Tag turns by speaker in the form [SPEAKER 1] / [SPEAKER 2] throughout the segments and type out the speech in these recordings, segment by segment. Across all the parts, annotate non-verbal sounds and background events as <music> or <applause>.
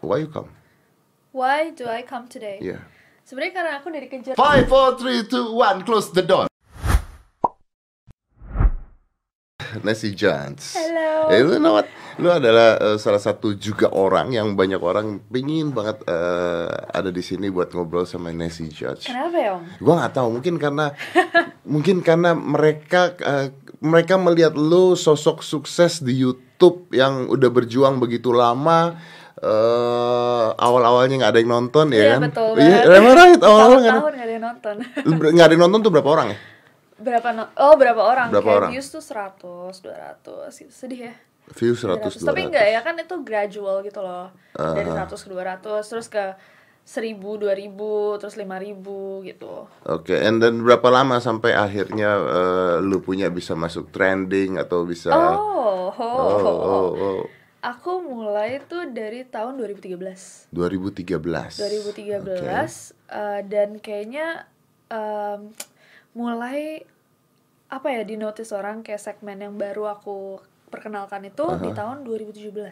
[SPEAKER 1] Why you come?
[SPEAKER 2] Why do I come today?
[SPEAKER 1] Yeah.
[SPEAKER 2] Sebenarnya karena aku dari kejar.
[SPEAKER 1] Five, four, three, two, one. Close the door. Nancy Johns.
[SPEAKER 2] Hello.
[SPEAKER 1] Eh, lu know what? Lu adalah eh, salah satu juga orang yang banyak orang pingin banget eh, ada di sini buat ngobrol sama Nancy Johns.
[SPEAKER 2] Kenapa ya om?
[SPEAKER 1] Gua nggak tahu, mungkin
[SPEAKER 2] <laughs>
[SPEAKER 1] karena mungkin karena mereka eh, mereka melihat lu sosok sukses di YouTube yang udah berjuang begitu lama. eh awal-awalnya nggak ada yang nonton ya
[SPEAKER 2] Iya,
[SPEAKER 1] kan?
[SPEAKER 2] betul
[SPEAKER 1] Iya, am
[SPEAKER 2] banget.
[SPEAKER 1] I right? kan. Awal-awal nggak ada-
[SPEAKER 2] tahun nggak ada yang nonton. <laughs>
[SPEAKER 1] Lu ber- nggak ada yang nonton tuh berapa orang ya?
[SPEAKER 2] berapa no oh berapa orang?
[SPEAKER 1] Berapa
[SPEAKER 2] Kayak
[SPEAKER 1] orang?
[SPEAKER 2] views tuh 100, 200 gitu. Sedih ya.
[SPEAKER 1] View 100
[SPEAKER 2] Tapi enggak ya kan itu gradual gitu loh. Dari 100 ke 200 terus ke 1000, 2000, terus 5000 gitu.
[SPEAKER 1] Oke, and then berapa lama sampai akhirnya eh, lu punya bisa masuk trending atau bisa
[SPEAKER 2] Oh, ho,
[SPEAKER 1] Iya. Oh,
[SPEAKER 2] ho.
[SPEAKER 1] oh, oh.
[SPEAKER 2] Aku mulai tuh dari tahun 2013.
[SPEAKER 1] 2013.
[SPEAKER 2] 2013 eh, dan kayaknya em, mulai apa ya di notice orang kayak segmen yang baru aku perkenalkan itu di tahun 2017. Wow.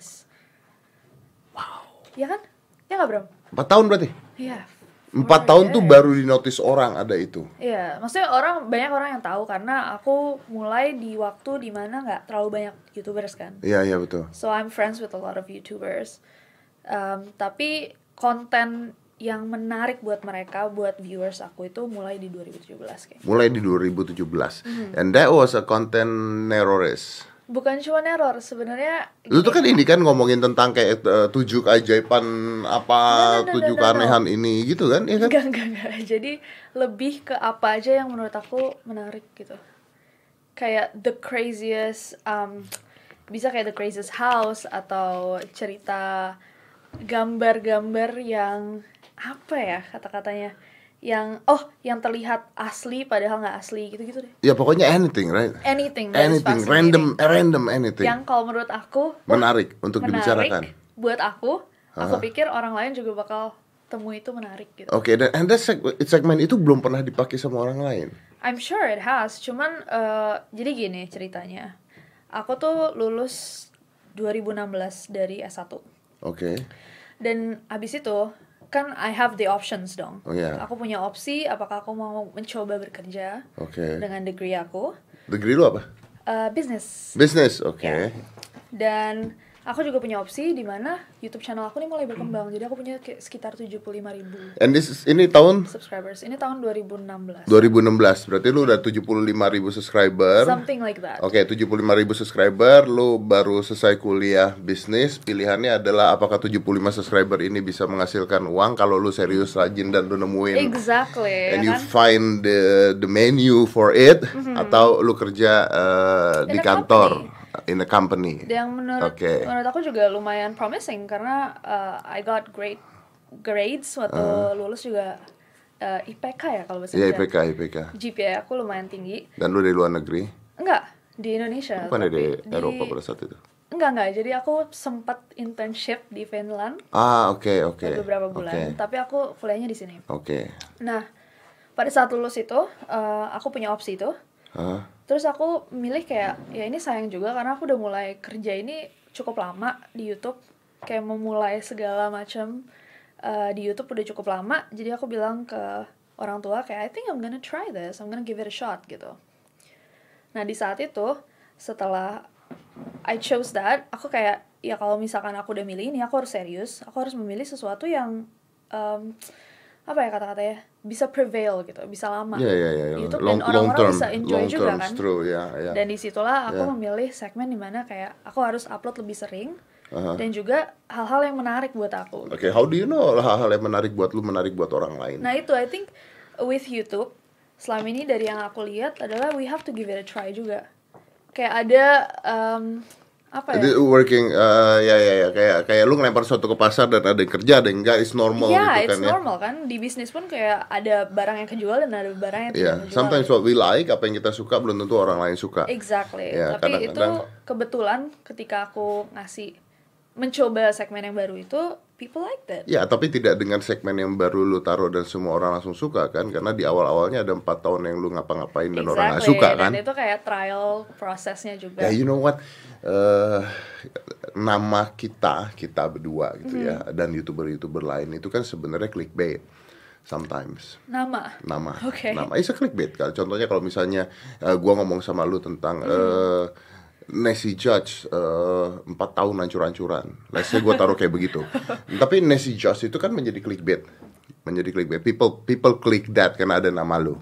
[SPEAKER 2] Ya kan? Ya nggak Bram?
[SPEAKER 1] 4 tahun berarti?
[SPEAKER 2] Iya.
[SPEAKER 1] 4 tahun tuh baru di notice orang ada itu.
[SPEAKER 2] Iya, maksudnya orang banyak orang yang tahu karena aku mulai di waktu dimana nggak terlalu banyak youtubers kan.
[SPEAKER 1] Iya, iya betul.
[SPEAKER 2] So I'm friends with a lot of YouTubers. Um, tapi konten yang menarik buat mereka, buat viewers aku itu mulai di 2017 kayaknya.
[SPEAKER 1] Mulai di 2017.
[SPEAKER 2] Mm-hmm.
[SPEAKER 1] And that was a content errorist.
[SPEAKER 2] Bukan cuma error, sebenarnya
[SPEAKER 1] Lu tuh kan
[SPEAKER 2] Iya.
[SPEAKER 1] ini kan ngomongin tentang kayak eh, tujuh keajaiban apa,
[SPEAKER 2] No, no, no,
[SPEAKER 1] tujuh
[SPEAKER 2] no, no.
[SPEAKER 1] keanehan ini gitu kan, ya kan?
[SPEAKER 2] enggak, enggak, enggak. <laughs> Jadi lebih ke apa aja yang menurut aku menarik gitu. Kayak the craziest, um, bisa kayak the craziest house atau cerita gambar-gambar yang apa ya kata-katanya yang oh yang terlihat asli padahal nggak asli gitu-gitu deh.
[SPEAKER 1] Ya pokoknya anything, right?
[SPEAKER 2] Anything, that is
[SPEAKER 1] Anything,
[SPEAKER 2] fascinating.
[SPEAKER 1] random, eh, random anything.
[SPEAKER 2] Yang kalau menurut aku
[SPEAKER 1] <laughs> menarik untuk
[SPEAKER 2] menarik
[SPEAKER 1] dibicarakan.
[SPEAKER 2] buat aku. Aku pikir orang lain juga bakal temui itu menarik gitu.
[SPEAKER 1] Oke, dan and that seg- segmen itu belum pernah dipakai sama orang lain.
[SPEAKER 2] I'm sure it has. Cuman eh, jadi gini ceritanya. Aku tuh lulus 2016 dari S1.
[SPEAKER 1] Oke.
[SPEAKER 2] Dan abis itu kan I have the options dong.
[SPEAKER 1] Oh, iya.
[SPEAKER 2] Aku punya opsi apakah aku mau mencoba bekerja
[SPEAKER 1] Oke.
[SPEAKER 2] dengan degree aku
[SPEAKER 1] Degree lu apa?
[SPEAKER 2] eh, bisnis.
[SPEAKER 1] Business. Oke.
[SPEAKER 2] Ya. Dan aku juga punya opsi di mana YouTube channel aku nih mulai berkembang. Jadi aku punya kayak sekitar 75.000
[SPEAKER 1] And this is, ini tahun
[SPEAKER 2] subscribers. Ini tahun 2016.
[SPEAKER 1] 2016. Berarti lu udah 75.000 subscriber.
[SPEAKER 2] Something like that.
[SPEAKER 1] Oke, 75.000 subscriber, lu baru selesai kuliah bisnis, pilihannya adalah apakah 75 subscriber ini bisa menghasilkan uang kalau lu serius rajin dan lu nemuin
[SPEAKER 2] Exactly.
[SPEAKER 1] and
[SPEAKER 2] ya
[SPEAKER 1] you
[SPEAKER 2] kan? Mhm.
[SPEAKER 1] find the the menu for it atau lu kerja uh,
[SPEAKER 2] In
[SPEAKER 1] di
[SPEAKER 2] a
[SPEAKER 1] kantor in a company.
[SPEAKER 2] yang menurut
[SPEAKER 1] Oke.
[SPEAKER 2] menurut aku juga lumayan promising karena uh, I got great grades waktu lulus juga uh, IPK ya kalau bahasa
[SPEAKER 1] Ah. Iya
[SPEAKER 2] Indonesia.
[SPEAKER 1] IPK IPK.
[SPEAKER 2] GPA aku lumayan tinggi.
[SPEAKER 1] Dan lu dari luar negeri?
[SPEAKER 2] Enggak, di Indonesia.
[SPEAKER 1] Bukan
[SPEAKER 2] tapi
[SPEAKER 1] dari
[SPEAKER 2] di-
[SPEAKER 1] Eropa pada saat itu.
[SPEAKER 2] Enggak, enggak. Jadi aku sempat internship di Finland
[SPEAKER 1] Ah, oke oke.
[SPEAKER 2] beberapa
[SPEAKER 1] Oke.
[SPEAKER 2] bulan, tapi aku kuliahnya di sini.
[SPEAKER 1] Oke.
[SPEAKER 2] Nah, pada saat lulus itu uh, aku punya opsi itu.
[SPEAKER 1] Hah?
[SPEAKER 2] Terus aku milih kayak ya ini sayang juga karena aku udah mulai kerja ini cukup lama di YouTube kayak memulai segala macam uh, di YouTube udah cukup lama jadi aku bilang ke orang tua kayak I think I'm gonna try this I'm gonna give it a shot gitu nah di saat itu setelah I chose that aku kayak ya kalau misalkan aku udah milih ini aku harus serius aku harus memilih sesuatu yang em, apa ya kata-katanya bisa prevail gitu bisa lama
[SPEAKER 1] Iya iya iya.
[SPEAKER 2] di YouTube
[SPEAKER 1] Long
[SPEAKER 2] dan
[SPEAKER 1] long
[SPEAKER 2] orang-orang
[SPEAKER 1] term.
[SPEAKER 2] bisa enjoy
[SPEAKER 1] Long
[SPEAKER 2] juga
[SPEAKER 1] term
[SPEAKER 2] kan
[SPEAKER 1] true ya ya.
[SPEAKER 2] dan disitulah aku
[SPEAKER 1] Ya.
[SPEAKER 2] memilih segmen dimana kayak aku harus upload lebih sering
[SPEAKER 1] Aha.
[SPEAKER 2] dan juga hal-hal yang menarik buat aku.
[SPEAKER 1] Oke, how do you know hal-hal yang menarik buat lu menarik buat orang lain?
[SPEAKER 2] Nah itu I think with YouTube selama ini dari yang aku lihat adalah we have to give it a try juga. Kayak ada em, apa ya?
[SPEAKER 1] Jadi working eh, ya ya ya kayak kayak lu ngelempar sesuatu ke pasar dan ada yang kerja ada yang enggak is normal
[SPEAKER 2] yeah,
[SPEAKER 1] gitu
[SPEAKER 2] it's
[SPEAKER 1] kan ya.
[SPEAKER 2] normal kan di bisnis pun kayak ada barang yang kejual dan ada barang yang
[SPEAKER 1] Iya,
[SPEAKER 2] tidak kejual.
[SPEAKER 1] sometimes what we like apa yang kita suka belum tentu orang lain suka.
[SPEAKER 2] Exactly.
[SPEAKER 1] Ya,
[SPEAKER 2] Tapi itu
[SPEAKER 1] kadang-kadang-
[SPEAKER 2] kebetulan ketika aku ngasih mencoba segmen yang baru itu people like that.
[SPEAKER 1] Ya, tapi tidak dengan segmen yang baru lu taruh dan semua orang langsung suka kan? Karena di awal-awalnya ada empat tahun yang lu ngapa-ngapain dan orang nggak suka kan? iya.
[SPEAKER 2] Dan itu kayak trial prosesnya juga.
[SPEAKER 1] Ya, you know what? Eh, nama kita kita berdua gitu ya dan youtuber-youtuber lain itu kan sebenarnya clickbait sometimes
[SPEAKER 2] Nama.
[SPEAKER 1] nama
[SPEAKER 2] Oke.
[SPEAKER 1] nama itu clickbait kan contohnya kalau misalnya eh, gua ngomong sama lu tentang eh Nessie Judge eh, empat tahun hancur-hancuran let's say gua taruh kayak begitu tapi Nessie Judge itu kan menjadi clickbait menjadi clickbait people people click that karena ada nama lu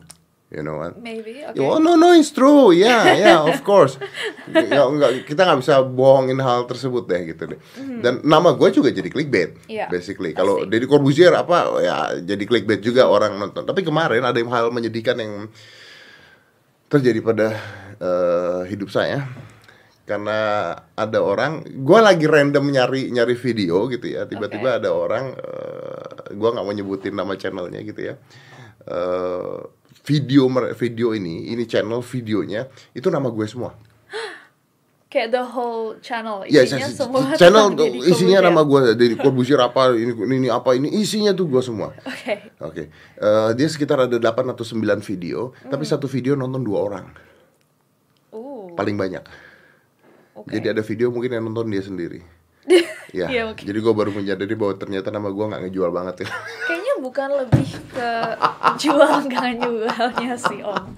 [SPEAKER 1] you know what
[SPEAKER 2] Maybe. Oke.
[SPEAKER 1] Oh no no it's true,
[SPEAKER 2] <laughs>
[SPEAKER 1] yeah yeah of course. Ya, enggak, kita nggak bisa bohongin hal tersebut deh gitu deh. Dan nama gue juga jadi clickbait,
[SPEAKER 2] Mhm. Iya,
[SPEAKER 1] basically. Kalau
[SPEAKER 2] pasti.
[SPEAKER 1] Deddy Corbuzier apa ya jadi clickbait juga orang nonton. Tapi kemarin ada yang hal menyedihkan yang terjadi pada eh, hidup saya karena ada orang, gue lagi random nyari nyari video gitu ya, tiba-tiba ada orang, eh, gue nggak mau nyebutin nama channelnya gitu ya, Eh, video mer- video ini, ini channel videonya itu nama gue semua.
[SPEAKER 2] Kayak the whole channel
[SPEAKER 1] Ya,
[SPEAKER 2] isinya
[SPEAKER 1] se- se-
[SPEAKER 2] semua <laughs>
[SPEAKER 1] channel
[SPEAKER 2] tentang Deddy
[SPEAKER 1] isinya
[SPEAKER 2] Corbuzier.
[SPEAKER 1] nama gue dari Corbuzier apa ini ini apa ini isinya tuh gue semua.
[SPEAKER 2] Oke.
[SPEAKER 1] Oke, Eh, dia sekitar ada 8 atau 9 video,
[SPEAKER 2] Hmm.
[SPEAKER 1] tapi satu video nonton dua orang
[SPEAKER 2] Uh,
[SPEAKER 1] paling banyak.
[SPEAKER 2] oke.
[SPEAKER 1] Jadi ada video mungkin yang nonton dia
[SPEAKER 2] <laughs>
[SPEAKER 1] sendiri. Ya,
[SPEAKER 2] Iya, oke.
[SPEAKER 1] jadi gue baru menyadari bahwa ternyata nama gue nggak ngejual banget ya.
[SPEAKER 2] Kayaknya bukan lebih ke jual <laughs> nggak jualnya sih om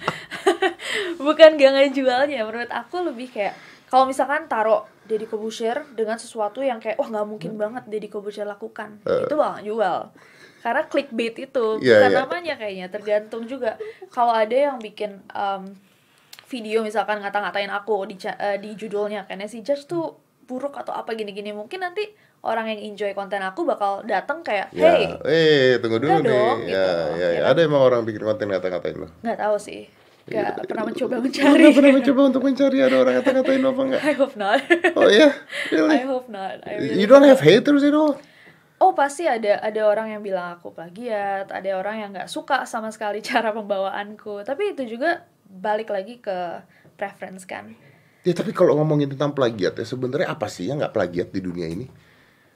[SPEAKER 2] <laughs> Bukan gak ngejualnya, menurut aku lebih kayak Kalau misalkan taruh Deddy Corbuzier dengan sesuatu yang kayak Wah nggak mungkin banget Deddy Corbuzier lakukan Itu bakal jual Karena clickbait itu,
[SPEAKER 1] Eh. Iya,
[SPEAKER 2] bukan
[SPEAKER 1] iya.
[SPEAKER 2] namanya kayaknya Tergantung juga Kalau ada yang bikin em, video misalkan ngata-ngatain aku di ca- eh, di judulnya karena si judge tuh buruk atau apa gini-gini mungkin nanti orang yang enjoy konten aku bakal datang kayak <laughs> hey
[SPEAKER 1] Ya, eh tunggu dulu
[SPEAKER 2] enggak
[SPEAKER 1] nih.
[SPEAKER 2] dong, gitu
[SPEAKER 1] ya,
[SPEAKER 2] loh,
[SPEAKER 1] ya,
[SPEAKER 2] ya
[SPEAKER 1] ya.
[SPEAKER 2] kan?
[SPEAKER 1] ada emang orang bikin konten ngata-ngatain
[SPEAKER 2] <laughs>
[SPEAKER 1] lo.
[SPEAKER 2] nggak tahu sih nggak pernah mencoba
[SPEAKER 1] Lu Iya. pernah
[SPEAKER 2] mencari
[SPEAKER 1] mencoba untuk mencari ada orang ngata-ngatain lo apa enggak?
[SPEAKER 2] <laughs> I hope not
[SPEAKER 1] Oh iya, really?
[SPEAKER 2] I hope not I really
[SPEAKER 1] You don't have haters at all?
[SPEAKER 2] oh pasti ada ada orang yang bilang aku plagiat ada orang yang nggak suka sama sekali <laughs> cara pembawaanku tapi itu juga balik lagi ke preference kan
[SPEAKER 1] Ya tapi kalau ngomongin tentang plagiat ya sebenarnya apa sih yang nggak plagiat di dunia ini?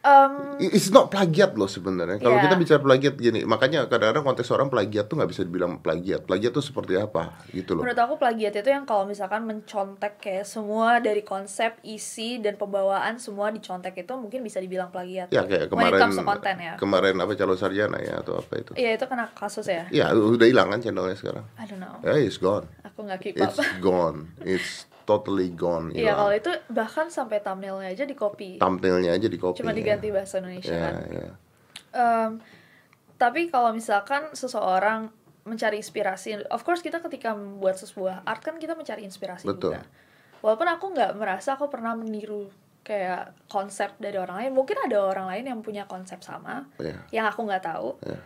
[SPEAKER 2] Em,
[SPEAKER 1] I- It's not plagiat loh sebenarnya. Kalau
[SPEAKER 2] Iya.
[SPEAKER 1] kita bicara plagiat gini, makanya kadang-kadang konteks orang plagiat tuh nggak bisa dibilang plagiat. Plagiat tuh seperti apa gitu loh.
[SPEAKER 2] Menurut aku plagiat itu yang kalau misalkan mencontek kayak semua dari konsep, isi dan pembawaan semua dicontek itu mungkin bisa dibilang plagiat.
[SPEAKER 1] Ya kayak
[SPEAKER 2] When it
[SPEAKER 1] kemarin
[SPEAKER 2] comes to content ya.
[SPEAKER 1] kemarin apa calon sarjana ya atau apa itu?
[SPEAKER 2] Iya itu kena kasus ya.
[SPEAKER 1] Ya udah hilang kan channelnya sekarang.
[SPEAKER 2] I don't know.
[SPEAKER 1] Ya it's gone.
[SPEAKER 2] Aku nggak keep up.
[SPEAKER 1] It's gone. It's totally gone.
[SPEAKER 2] Iya kalau
[SPEAKER 1] hilang.
[SPEAKER 2] itu bahkan sampai thumbnailnya aja di copy.
[SPEAKER 1] Thumbnailnya aja di copy.
[SPEAKER 2] Cuma diganti bahasa Indonesia
[SPEAKER 1] Ya,
[SPEAKER 2] kan.
[SPEAKER 1] ya.
[SPEAKER 2] Em, tapi kalau misalkan seseorang mencari inspirasi, of course kita ketika membuat sebuah art kan kita mencari inspirasi
[SPEAKER 1] Betul.
[SPEAKER 2] juga. Walaupun aku nggak merasa aku pernah meniru kayak konsep dari orang lain, mungkin ada orang lain yang punya konsep sama
[SPEAKER 1] ya.
[SPEAKER 2] yang aku nggak tahu.
[SPEAKER 1] Ya.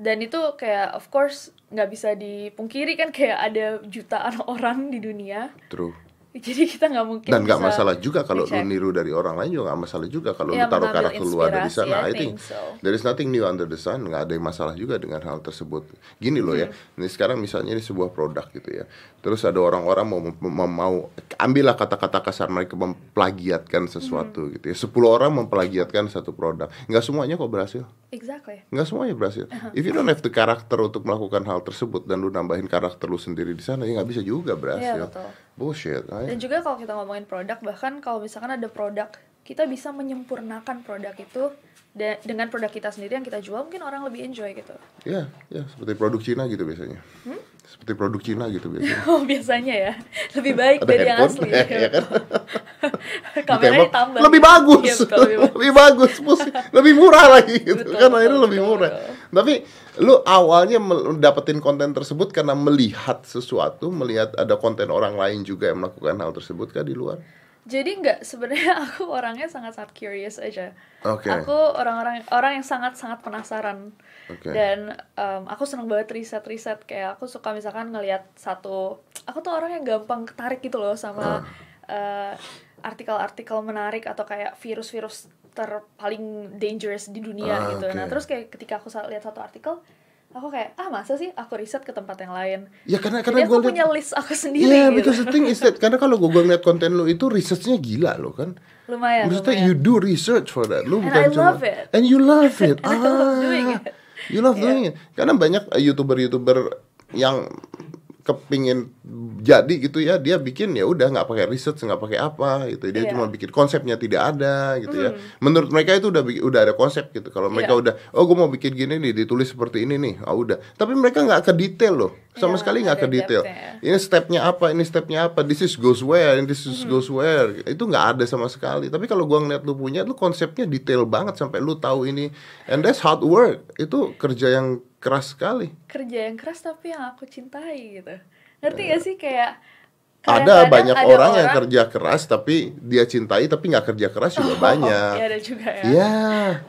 [SPEAKER 2] Dan itu kayak of course nggak bisa dipungkiri kan kayak ada jutaan <laughs> orang di dunia.
[SPEAKER 1] True.
[SPEAKER 2] Jadi kita nggak mungkin
[SPEAKER 1] Dan nggak
[SPEAKER 2] bisa
[SPEAKER 1] masalah juga kalau lu
[SPEAKER 2] dicek.
[SPEAKER 1] niru dari orang lain juga nggak masalah juga kalau lu
[SPEAKER 2] Iya,
[SPEAKER 1] taruh
[SPEAKER 2] mengambil
[SPEAKER 1] karakter luar dari
[SPEAKER 2] inspirasi,
[SPEAKER 1] sana.
[SPEAKER 2] I
[SPEAKER 1] I think
[SPEAKER 2] think so.
[SPEAKER 1] there is nothing new under the sun. Nggak ada yang masalah juga dengan hal tersebut. Gini loh ya.
[SPEAKER 2] Mm-hmm.
[SPEAKER 1] Ini sekarang misalnya ini sebuah produk gitu ya. Terus ada orang-orang mau, mau mau ambillah kata-kata kasar mereka memplagiatkan sesuatu
[SPEAKER 2] Mm-hmm.
[SPEAKER 1] gitu ya. 10 orang memplagiatkan satu produk. Nggak semuanya kok berhasil.
[SPEAKER 2] Exactly.
[SPEAKER 1] Nggak semuanya berhasil.
[SPEAKER 2] Uh-huh.
[SPEAKER 1] If you don't have the karakter untuk melakukan hal tersebut dan lu nambahin karakter lu sendiri di sana, ya nggak bisa juga berhasil.
[SPEAKER 2] Iya, betul.
[SPEAKER 1] Bullshit. I-
[SPEAKER 2] Dan juga kalau kita ngomongin produk, bahkan kalau misalkan ada produk, kita bisa menyempurnakan produk itu de- dengan produk kita sendiri yang kita jual, mungkin orang lebih enjoy gitu. <laughs>
[SPEAKER 1] Ya, ya seperti produk Cina gitu biasanya.
[SPEAKER 2] Hmm?
[SPEAKER 1] Seperti produk Cina gitu biasanya.
[SPEAKER 2] Oh, biasanya ya. Lebih baik
[SPEAKER 1] Ada
[SPEAKER 2] dari yang
[SPEAKER 1] handphone,
[SPEAKER 2] asli.
[SPEAKER 1] ya kan?
[SPEAKER 2] <laughs> <laughs> Kameranya
[SPEAKER 1] Ditembak,
[SPEAKER 2] ditambah.
[SPEAKER 1] lebih bagus,
[SPEAKER 2] Iya, betul, lebih bagus.
[SPEAKER 1] <laughs> lebih bagus, musik, lebih murah lagi gitu
[SPEAKER 2] Betul,
[SPEAKER 1] kan
[SPEAKER 2] betul,
[SPEAKER 1] akhirnya lebih
[SPEAKER 2] betul,
[SPEAKER 1] murah.
[SPEAKER 2] betul.
[SPEAKER 1] Tapi lu awalnya mendapetin konten tersebut karena melihat sesuatu, melihat ada konten orang lain juga yang melakukan hal tersebut kan di luar.
[SPEAKER 2] Jadi nggak sebenarnya <laughs> aku orangnya sangat-sangat curious aja.
[SPEAKER 1] Oke.
[SPEAKER 2] Aku orang-orang orang yang sangat-sangat penasaran.
[SPEAKER 1] Oke.
[SPEAKER 2] Dan em, aku seneng banget riset-riset kayak aku suka misalkan ngelihat satu aku tuh orang yang gampang ketarik gitu
[SPEAKER 1] Ah.
[SPEAKER 2] loh sama eh, artikel-artikel menarik atau kayak virus-virus terpaling dangerous di dunia
[SPEAKER 1] Ah,
[SPEAKER 2] gitu. Nah,
[SPEAKER 1] oke.
[SPEAKER 2] terus kayak ketika aku sa- lihat satu artikel aku kayak ah masa sih aku riset ke tempat yang lain.
[SPEAKER 1] Ya karena
[SPEAKER 2] Jadi
[SPEAKER 1] karena
[SPEAKER 2] aku
[SPEAKER 1] gue
[SPEAKER 2] punya list aku sendiri
[SPEAKER 1] Iya,
[SPEAKER 2] gitu.
[SPEAKER 1] because the thing is that karena kalau gue ngeliat konten lu itu researchnya gila loh kan.
[SPEAKER 2] <laughs> Lumayan.
[SPEAKER 1] Maksudnya
[SPEAKER 2] lumayan.
[SPEAKER 1] you do research for that. Lu
[SPEAKER 2] And
[SPEAKER 1] bukan
[SPEAKER 2] I
[SPEAKER 1] cuma
[SPEAKER 2] love it.
[SPEAKER 1] and you
[SPEAKER 2] <laughs>
[SPEAKER 1] love it.
[SPEAKER 2] And I love doing
[SPEAKER 1] Ah,
[SPEAKER 2] it.
[SPEAKER 1] You love doing it. Karena banyak eh, YouTuber-YouTuber yang kepingin jadi gitu ya dia bikin ya udah nggak pakai riset nggak pakai apa gitu dia
[SPEAKER 2] Iya.
[SPEAKER 1] cuma bikin konsepnya tidak ada gitu ya
[SPEAKER 2] Mm-hmm.
[SPEAKER 1] menurut mereka itu udah bi- udah ada konsep gitu kalau mereka
[SPEAKER 2] Iya.
[SPEAKER 1] udah oh gue mau bikin gini nih ditulis seperti ini nih oh udah tapi mereka nggak ke detail loh sama
[SPEAKER 2] Iya,
[SPEAKER 1] sekali nggak
[SPEAKER 2] nggak
[SPEAKER 1] ke
[SPEAKER 2] ada
[SPEAKER 1] detail
[SPEAKER 2] depth-nya
[SPEAKER 1] ini stepnya apa ini stepnya apa this is goes where and this
[SPEAKER 2] Hmm.
[SPEAKER 1] is goes where itu nggak ada sama sekali tapi kalau gua ngeliat lu punya lu konsepnya detail banget sampai lu tahu ini and that's hard work itu kerja yang keras sekali
[SPEAKER 2] kerja yang keras tapi yang aku cintai gitu ngerti gak sih kayak
[SPEAKER 1] Iya. ada
[SPEAKER 2] kadang-kadang
[SPEAKER 1] banyak orang, yang
[SPEAKER 2] <laughs>
[SPEAKER 1] kerja keras tapi dia cintai tapi nggak kerja keras juga banyak
[SPEAKER 2] Iya, ada juga ya
[SPEAKER 1] ya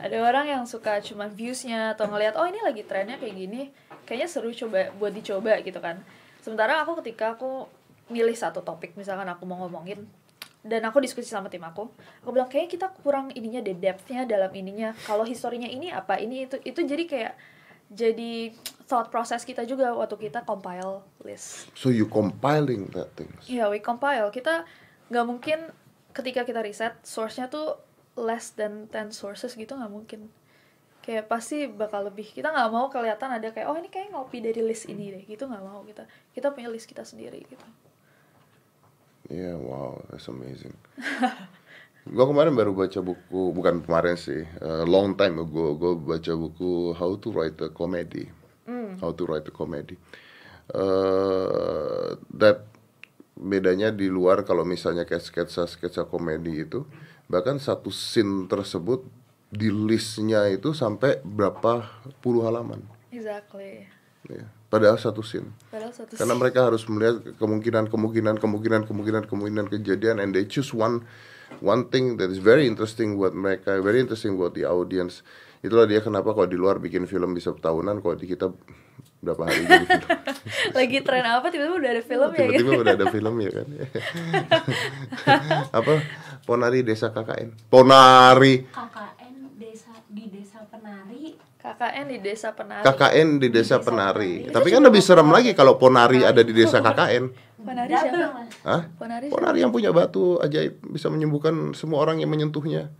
[SPEAKER 2] ada orang yang suka cuma viewsnya atau ngelihat oh ini lagi trennya kayak gini kayaknya seru coba buat dicoba gitu kan sementara aku ketika aku milih satu topik misalkan aku mau ngomongin dan aku diskusi sama tim aku aku bilang kayaknya kita kurang ininya deh depthnya dalam ininya kalau historinya ini apa ini itu itu jadi kayak jadi thought process kita juga waktu kita compile list
[SPEAKER 1] so you compiling that things
[SPEAKER 2] Iya, we compile. Kita nggak mungkin ketika kita riset, source-nya tuh less than 10 sources gitu nggak mungkin. Kayak pasti bakal lebih. Kita nggak mau kelihatan ada kayak, oh ini kayak ngopi dari list ini deh. Gitu nggak mau kita. Kita punya list kita sendiri gitu.
[SPEAKER 1] yeah wow that's amazing <laughs> Gua kemarin baru baca buku bukan kemarin sih uh, long time ago gue baca buku how to write a comedy how to write a comedy Eh, that bedanya di luar kalau misalnya kayak sketsa sketsa komedi itu bahkan satu scene tersebut di listnya itu sampai berapa puluh halaman
[SPEAKER 2] Exactly.
[SPEAKER 1] ya. padahal satu scene
[SPEAKER 2] Padahal satu
[SPEAKER 1] karena <laughs> mereka harus melihat kemungkinan kemungkinan kemungkinan kemungkinan kemungkinan kejadian and they choose one one thing that is very interesting buat mereka very interesting buat the audience itulah dia kenapa kalau di luar bikin film bisa tahunan kalau di kita berapa hari jadi film
[SPEAKER 2] lagi tren apa tiba-tiba udah ada film ya gitu.
[SPEAKER 1] tiba-tiba udah ada film ya kan apa ponari desa KKN ponari
[SPEAKER 3] KKN desa di desa penari
[SPEAKER 2] KKN di desa penari.
[SPEAKER 1] KKN di desa
[SPEAKER 3] Desa
[SPEAKER 1] penari
[SPEAKER 3] Penari.
[SPEAKER 1] tapi kan lebih serem lagi kalau ponari ada di desa KKN
[SPEAKER 2] Penari
[SPEAKER 3] Double,
[SPEAKER 2] siapa?
[SPEAKER 3] Mas.
[SPEAKER 1] Hah?
[SPEAKER 2] Ponari. siapa?
[SPEAKER 1] Ponari yang punya batu ajaib bisa menyembuhkan semua orang yang menyentuhnya.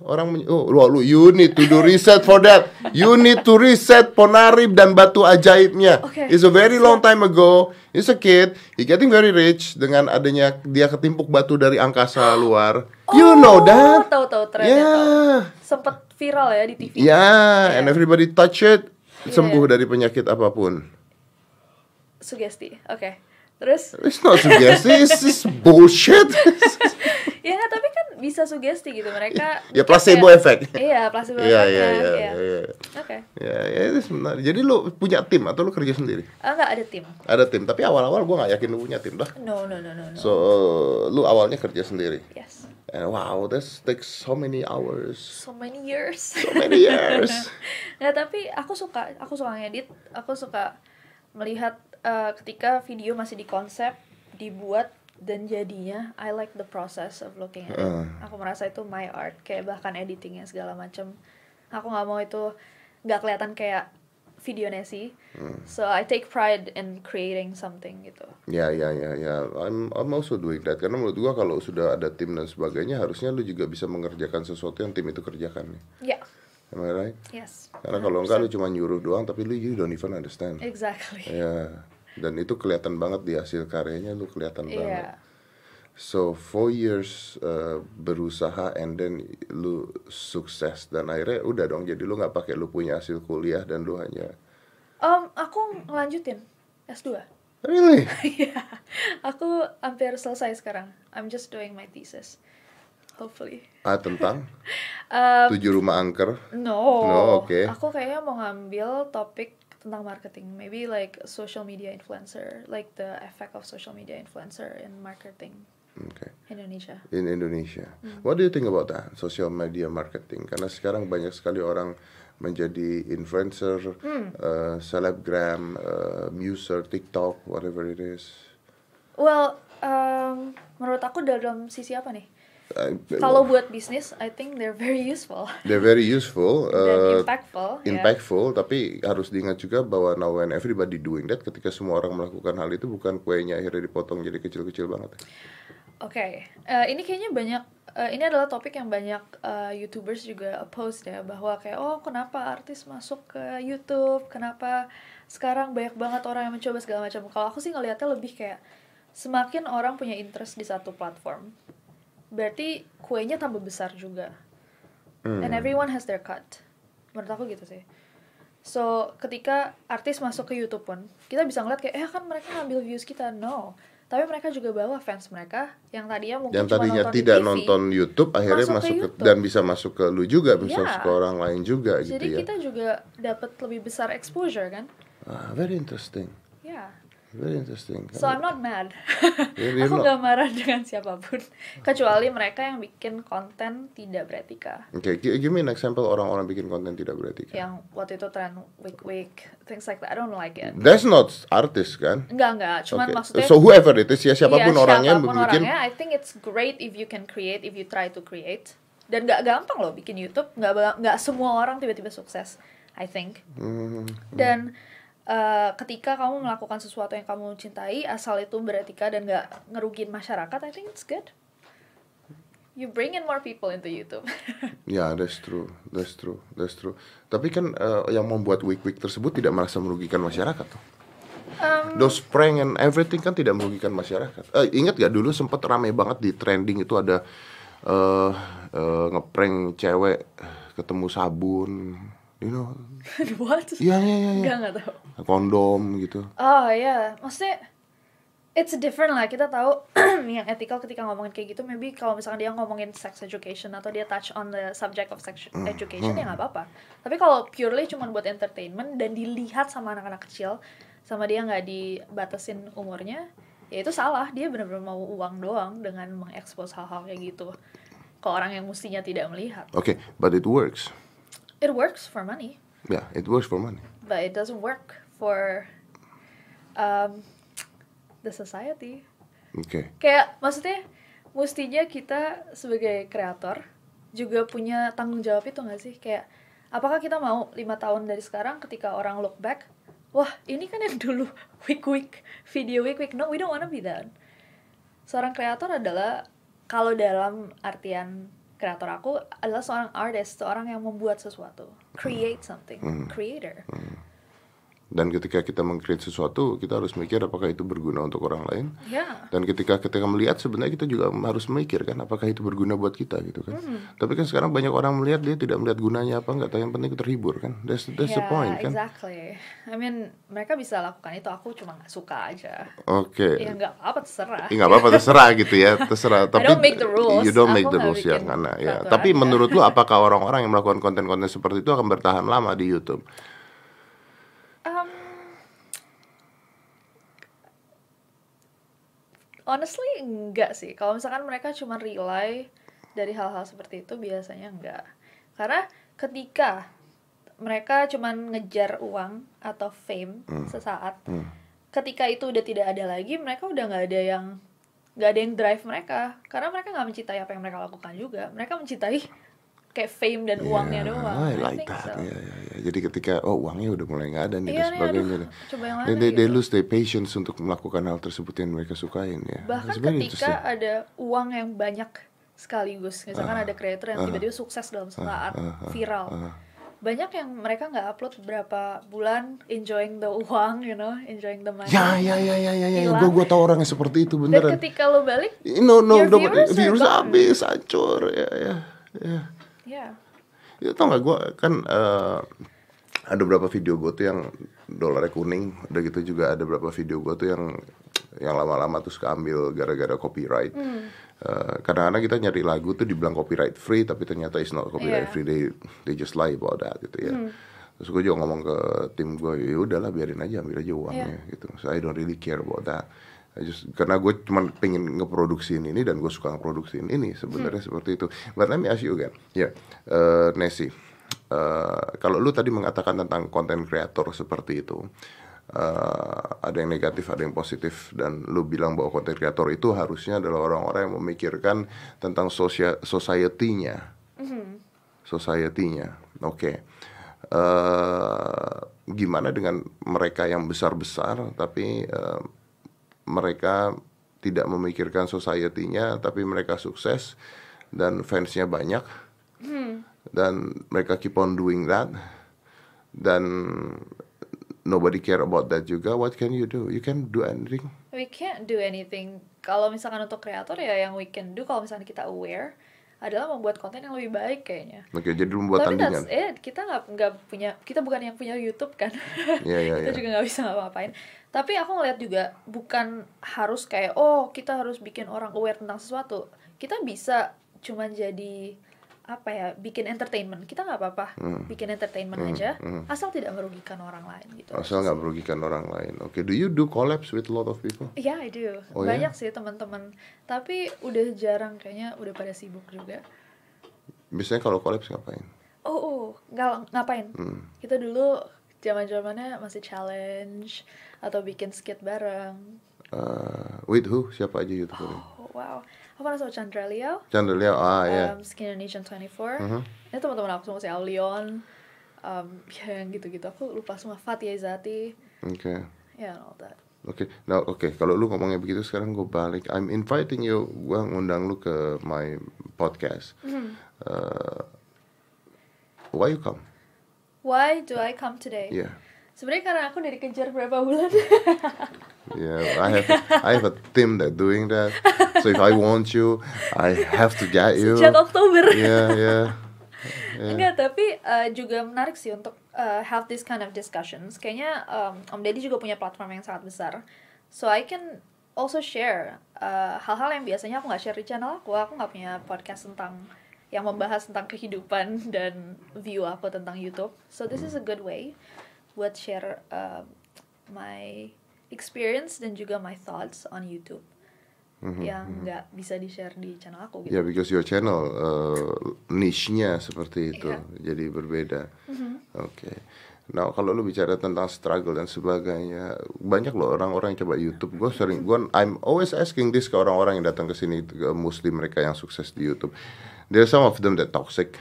[SPEAKER 1] Orang menye- oh, lu, lu you need to do research for that. You need to research Ponari dan batu ajaibnya.
[SPEAKER 2] Oke.
[SPEAKER 1] It's a very long time ago. It's a kid. He getting very rich dengan adanya dia ketimpuk batu dari angkasa luar. you know that?
[SPEAKER 2] Tahu tahu trennya. Oh, tahu. Iya.
[SPEAKER 1] Yeah.
[SPEAKER 2] Sempet viral ya di TV.
[SPEAKER 1] Yeah, and everybody touch it
[SPEAKER 2] Iya.
[SPEAKER 1] sembuh dari penyakit apapun.
[SPEAKER 2] Sugesti. Oke. Terus
[SPEAKER 1] It's not suggestive, it's just
[SPEAKER 2] <laughs>
[SPEAKER 1] bullshit.
[SPEAKER 2] ya nggak, tapi kan bisa sugesti gitu mereka
[SPEAKER 1] ya placebo
[SPEAKER 2] kayak-
[SPEAKER 1] effect.
[SPEAKER 2] iya placebo
[SPEAKER 1] Iya,
[SPEAKER 2] effect
[SPEAKER 1] iya,
[SPEAKER 2] kan,
[SPEAKER 1] iya,
[SPEAKER 2] iya.
[SPEAKER 1] iya.
[SPEAKER 2] oke
[SPEAKER 1] Ya, ya itu sebenarnya. Jadi lu punya tim atau lu kerja sendiri?
[SPEAKER 2] Ah, nggak ada tim
[SPEAKER 1] Ada tim, tapi awal-awal gua nggak yakin lu punya tim dah.
[SPEAKER 2] no no no no no
[SPEAKER 1] So, uh, lu awalnya kerja sendiri.
[SPEAKER 2] yes
[SPEAKER 1] And wow, this takes so many hours,
[SPEAKER 2] so many years
[SPEAKER 1] so many years.
[SPEAKER 2] <laughs> nah tapi aku suka aku suka ngedit aku suka melihat eh, ketika video masih dikonsep dibuat dan jadinya I like the process of looking at it
[SPEAKER 1] Heeh.
[SPEAKER 2] aku merasa itu my art kayak bahkan editingnya segala macam aku nggak mau itu nggak kelihatan kayak video Nessie
[SPEAKER 1] Hmm.
[SPEAKER 2] so I take pride in creating something gitu
[SPEAKER 1] ya, ya, ya, ya. I'm, I'm also doing that karena menurut gua kalau sudah ada tim dan sebagainya, harusnya lu juga bisa mengerjakan sesuatu yang tim itu kerjakan. ya.
[SPEAKER 2] ya
[SPEAKER 1] Am I right?
[SPEAKER 2] yes
[SPEAKER 1] Karena kalau enggak lu cuma nyuruh doang, tapi lu you don't even
[SPEAKER 2] Iya.
[SPEAKER 1] understand.
[SPEAKER 2] exactly
[SPEAKER 1] Ya, dan itu kelihatan banget di hasil karyanya, lu kelihatan banget.
[SPEAKER 2] iya
[SPEAKER 1] So four years uh, berusaha and then lu sukses dan akhirnya udah dong jadi lu nggak pakai lu punya hasil kuliah dan lu hanya
[SPEAKER 2] Em, Um, aku ngelanjutin S2
[SPEAKER 1] really
[SPEAKER 2] Iya, aku hampir selesai sekarang. I'm just doing my thesis, hopefully.
[SPEAKER 1] ah tentang
[SPEAKER 2] Um,
[SPEAKER 1] tujuh rumah angker
[SPEAKER 2] no,
[SPEAKER 1] No, oke.
[SPEAKER 2] aku kayaknya mau ngambil topik tentang marketing, maybe like social media influencer, like the effect of social media influencer in marketing
[SPEAKER 1] okay.
[SPEAKER 2] Indonesia.
[SPEAKER 1] in Indonesia what do you think about that social media marketing karena sekarang banyak sekali orang menjadi influencer uh, selebgram uh, muser TikTok whatever it is
[SPEAKER 2] Well, um, menurut aku dalam sisi apa nih?
[SPEAKER 1] Uh,
[SPEAKER 2] Kalau buat bisnis, I think they're very useful
[SPEAKER 1] they're very useful
[SPEAKER 2] <laughs> dan
[SPEAKER 1] uh,
[SPEAKER 2] impactful. ya.
[SPEAKER 1] impactful tapi harus diingat juga bahwa now when everybody doing that ketika semua orang melakukan hal itu bukan kuenya akhirnya dipotong jadi kecil-kecil banget
[SPEAKER 2] Oke, eh, ini kayaknya banyak eh, ini adalah topik yang banyak eh, youtubers juga post ya bahwa kayak oh kenapa artis masuk ke YouTube kenapa sekarang banyak banget orang yang mencoba segala macam kalau aku sih ngelihatnya lebih kayak semakin orang punya interest di satu platform berarti kuenya tambah besar juga
[SPEAKER 1] Hmm.
[SPEAKER 2] and everyone has their cut menurut aku gitu sih so ketika artis masuk ke YouTube pun kita bisa ngeliat kayak eh kan mereka ngambil views kita no tapi mereka juga bawa fans mereka yang tadinya mungkin
[SPEAKER 1] yang
[SPEAKER 2] cuma
[SPEAKER 1] tadinya
[SPEAKER 2] nonton di
[SPEAKER 1] tidak
[SPEAKER 2] TV.
[SPEAKER 1] nonton YouTube akhirnya
[SPEAKER 2] masuk ke
[SPEAKER 1] masuk, ke,
[SPEAKER 2] YouTube.
[SPEAKER 1] dan bisa masuk ke lu juga bisa
[SPEAKER 2] Iya.
[SPEAKER 1] masuk ke orang lain juga
[SPEAKER 2] jadi
[SPEAKER 1] gitu ya
[SPEAKER 2] kita juga dapat lebih besar exposure kan
[SPEAKER 1] ah, very interesting
[SPEAKER 2] ya
[SPEAKER 1] very interesting
[SPEAKER 2] so I'm not mad
[SPEAKER 1] <laughs> Iya, dia
[SPEAKER 2] aku
[SPEAKER 1] not-
[SPEAKER 2] gak marah dengan siapapun kecuali mereka yang bikin konten tidak beretika
[SPEAKER 1] Oke, gi- give me an example orang-orang bikin konten tidak kan? beretika.
[SPEAKER 2] yang waktu itu tren wig wig things like that I don't like it
[SPEAKER 1] That's not artis kan?
[SPEAKER 2] enggak enggak cuman
[SPEAKER 1] Oke.
[SPEAKER 2] maksudnya
[SPEAKER 1] Mm. so whoever it is ya siapapun
[SPEAKER 2] Iya,
[SPEAKER 1] orangnya
[SPEAKER 2] siapapun
[SPEAKER 1] bikin
[SPEAKER 2] orangnya, I think it's great if you can create if you try to create dan nggak gampang loh bikin YouTube nggak ba- nggak semua orang tiba-tiba sukses I think
[SPEAKER 1] Hmm,
[SPEAKER 2] dan eh, ketika kamu melakukan sesuatu yang kamu cintai asal itu beretika dan nggak ngerugiin masyarakat I think it's good you bring in more people into YouTube <laughs>
[SPEAKER 1] ya that's true, that's true, that's true. Tapi kan eh, yang membuat week-week tersebut tidak merasa merugikan masyarakat tuh.
[SPEAKER 2] Em,
[SPEAKER 1] Those prank and everything kan tidak merugikan masyarakat. Eh, ingat gak dulu sempat rame banget di trending itu ada eh eh, ngeprank cewek ketemu sabun, you know?
[SPEAKER 2] what
[SPEAKER 1] Iya iya iya. iya.
[SPEAKER 2] nggak nggak tahu
[SPEAKER 1] Kondom gitu.
[SPEAKER 2] Oh iya, maksudnya it's different lah kita tahu <clears throat> yang ethical ketika ngomongin kayak gitu maybe kalau misalkan dia ngomongin sex education atau dia touch on the subject of sex education ya nggak apa-apa tapi kalau purely cuma buat entertainment dan dilihat sama anak-anak kecil sama dia nggak dibatasin umurnya ya itu salah dia benar-benar mau uang doang dengan mengekspos hal-hal kayak gitu ke orang yang mestinya tidak melihat
[SPEAKER 1] Oke, but it works.
[SPEAKER 2] it works for money
[SPEAKER 1] Yeah, it works for money.
[SPEAKER 2] but it doesn't work for um, the society
[SPEAKER 1] Oke.
[SPEAKER 2] kayak maksudnya mestinya kita sebagai kreator juga punya tanggung jawab itu nggak sih kayak apakah kita mau lima tahun dari sekarang ketika orang look back wah ini kan yang <laughs> dulu week week video week week no we don't wanna be that seorang kreator adalah kalau dalam artian kreator aku adalah seorang artist seorang yang membuat sesuatu create something
[SPEAKER 1] Hmm.
[SPEAKER 2] creator
[SPEAKER 1] Dan ketika kita meng-create sesuatu, kita harus mikir apakah itu berguna untuk orang lain.
[SPEAKER 2] ya
[SPEAKER 1] Dan ketika ketika melihat sebenarnya kita juga harus mikir kan apakah itu berguna buat kita gitu kan.
[SPEAKER 2] Hmm.
[SPEAKER 1] Tapi kan sekarang banyak orang melihat dia tidak melihat gunanya apa nggak tahu yang penting terhibur kan. That's that's the
[SPEAKER 2] Ya,
[SPEAKER 1] point kan.
[SPEAKER 2] exactly I mean mereka bisa lakukan itu aku cuma nggak suka aja
[SPEAKER 1] Oke.
[SPEAKER 2] ya nggak apa-apa terserah
[SPEAKER 1] Ya, nggak apa-apa terserah gitu ya terserah tapi
[SPEAKER 2] don't make the rules.
[SPEAKER 1] you don't make
[SPEAKER 2] Aku
[SPEAKER 1] the
[SPEAKER 2] nggak
[SPEAKER 1] rules ya
[SPEAKER 2] bikin
[SPEAKER 1] karena ya
[SPEAKER 2] peraturan,
[SPEAKER 1] tapi
[SPEAKER 2] ya.
[SPEAKER 1] menurut lu apakah orang-orang yang melakukan konten-konten seperti itu akan bertahan lama di YouTube
[SPEAKER 2] Um, honestly enggak sih. Kalau misalkan mereka cuma rely dari hal-hal seperti itu biasanya enggak. Karena ketika mereka cuma ngejar uang atau fame
[SPEAKER 1] Hmm.
[SPEAKER 2] sesaat, ketika itu udah tidak ada lagi, mereka udah nggak ada yang nggak ada yang drive mereka. Karena mereka nggak mencintai apa yang mereka lakukan juga. Mereka mencintai kayak fame dan uangnya
[SPEAKER 1] Ya,
[SPEAKER 2] doang.
[SPEAKER 1] I
[SPEAKER 2] I
[SPEAKER 1] like
[SPEAKER 2] think
[SPEAKER 1] that.
[SPEAKER 2] so.
[SPEAKER 1] Ya, ya, ya. Jadi ketika oh uangnya udah mulai nggak ada nih
[SPEAKER 2] Iya
[SPEAKER 1] dan
[SPEAKER 2] nih,
[SPEAKER 1] sebagainya.
[SPEAKER 2] aduh,
[SPEAKER 1] nih. They,
[SPEAKER 2] coba yang lain
[SPEAKER 1] they,
[SPEAKER 2] gitu.
[SPEAKER 1] they lose their patience untuk melakukan hal tersebut yang mereka sukain ya.
[SPEAKER 2] bahkan
[SPEAKER 1] It's very
[SPEAKER 2] ketika
[SPEAKER 1] interesting.
[SPEAKER 2] ada uang yang banyak sekaligus misalkan
[SPEAKER 1] Ah,
[SPEAKER 2] ada creator yang tiba-tiba sukses dalam saat viral banyak yang mereka nggak upload berapa bulan enjoying the <laughs> uang you know enjoying the money
[SPEAKER 1] Ya ya ya ya ya ya.
[SPEAKER 2] Hilang.
[SPEAKER 1] Gue gue tau orang yang seperti itu
[SPEAKER 2] dan
[SPEAKER 1] beneran.
[SPEAKER 2] ketika lo balik
[SPEAKER 1] No no
[SPEAKER 2] Your
[SPEAKER 1] no,
[SPEAKER 2] viewers are
[SPEAKER 1] virus
[SPEAKER 2] gone.
[SPEAKER 1] habis hancur ya ya ya.
[SPEAKER 2] ya
[SPEAKER 1] Ya tau gak gue kan eh, ada beberapa video gue tuh yang dolarnya kuning, udah gitu juga ada beberapa video gue tuh yang yang lama-lama terus keambil gara-gara copyright.
[SPEAKER 2] Hmm.
[SPEAKER 1] Eh, kadang-kadang kita nyari lagu tuh dibilang copyright free tapi ternyata it's not copyright
[SPEAKER 2] Iya.
[SPEAKER 1] free they they just lie about that gitu ya terus gue juga ngomong ke tim gue ya udahlah biarin aja ambil aja uangnya gitu so I don't really care about that I just- karena gue cuma pengen ngeproduksiin ini dan gue suka ngeproduksiin ini sebenarnya seperti itu but let me ask you again ya eh, Nessie eh, kalau lu tadi mengatakan tentang konten kreator seperti itu eh, ada yang negatif, ada yang positif, dan lu bilang bahwa konten kreator itu harusnya adalah orang-orang yang memikirkan tentang sosia society-nya, society-nya. Oke, Eh, gimana dengan mereka yang besar-besar tapi eh, mereka tidak memikirkan society-nya, tapi mereka sukses dan fansnya banyak
[SPEAKER 2] Hmm.
[SPEAKER 1] dan mereka keep on doing that dan nobody care about that juga what can you do you can do anything
[SPEAKER 2] We can't do anything. Kalau misalkan untuk kreator ya yang we can do kalau misalkan kita aware adalah membuat konten yang lebih baik kayaknya.
[SPEAKER 1] oke jadi lu membuat
[SPEAKER 2] Tapi
[SPEAKER 1] tandingan
[SPEAKER 2] that's it. Kita nggak nggak punya kita bukan yang punya YouTube kan. <laughs>
[SPEAKER 1] Iya, iya, iya.
[SPEAKER 2] kita juga nggak bisa ngapa-ngapain. Tapi aku ngeliat juga bukan harus kayak oh kita harus bikin orang aware tentang sesuatu. Kita bisa cuman jadi apa ya bikin entertainment kita nggak apa-apa
[SPEAKER 1] Hmm.
[SPEAKER 2] bikin entertainment
[SPEAKER 1] Hmm,
[SPEAKER 2] aja
[SPEAKER 1] hmm.
[SPEAKER 2] asal tidak merugikan orang lain gitu
[SPEAKER 1] asal nggak merugikan orang lain oke do you do collabs with a lot of people
[SPEAKER 2] Iya, I do.
[SPEAKER 1] Oh, ya?
[SPEAKER 2] Banyak sih teman-teman. Tapi udah jarang kayaknya udah pada sibuk juga.
[SPEAKER 1] biasanya kalau collabs ngapain
[SPEAKER 2] Oh, oh nggak ngapain?
[SPEAKER 1] Hmm.
[SPEAKER 2] Kita dulu zaman-zamannya masih challenge atau bikin skit bareng.
[SPEAKER 1] Eh, with who siapa aja youtuber
[SPEAKER 2] Oh, wow. Aku pernah sama Chandra Liao,
[SPEAKER 1] Chandra Liao ah ya
[SPEAKER 2] um, Skin Indonesian 24.
[SPEAKER 1] Mhm.
[SPEAKER 2] Ini teman-teman aku semua si Aulion. Um, ya, yang gitu-gitu. Aku lupa semua Fatia Izati.
[SPEAKER 1] oke
[SPEAKER 2] Ya, and all that.
[SPEAKER 1] Oke, nah oke kalau lu ngomongnya begitu sekarang gue balik. I'm inviting you, gue ngundang lu ke my podcast.
[SPEAKER 2] Mm-hmm.
[SPEAKER 1] Eh, why you come?
[SPEAKER 2] Why do I come today?
[SPEAKER 1] Yeah,
[SPEAKER 2] Sebenarnya karena aku udah dikejar berapa
[SPEAKER 1] <laughs>
[SPEAKER 2] bulan.
[SPEAKER 1] yeah. I have I have a team that doing that. So if I want you, I have to get you.
[SPEAKER 2] <laughs> Sejak Oktober.
[SPEAKER 1] Yeah, yeah.
[SPEAKER 2] Enggak, tapi eh, juga menarik sih untuk eh, have this kind of discussions. Kayaknya em, Om Deddy juga punya platform yang sangat besar. So I can also share eh, hal-hal yang biasanya aku nggak share di channel aku. Aku nggak punya podcast tentang yang membahas tentang kehidupan <laughs> dan view aku tentang YouTube. So this is a good way buat share eh, my experience dan juga my thoughts on YouTube
[SPEAKER 1] Mhm,
[SPEAKER 2] yang nggak bisa di share di channel aku gitu.
[SPEAKER 1] Yeah, Ya, because your channel eh, niche-nya seperti itu, jadi berbeda. Oke. Nah, kalau lu bicara tentang struggle dan sebagainya, banyak loh orang-orang yang coba YouTube. Gue sering, gue I'm always asking this ke orang-orang yang datang ke sini, ke Muslim mereka yang sukses di YouTube. There are some of them that toxic.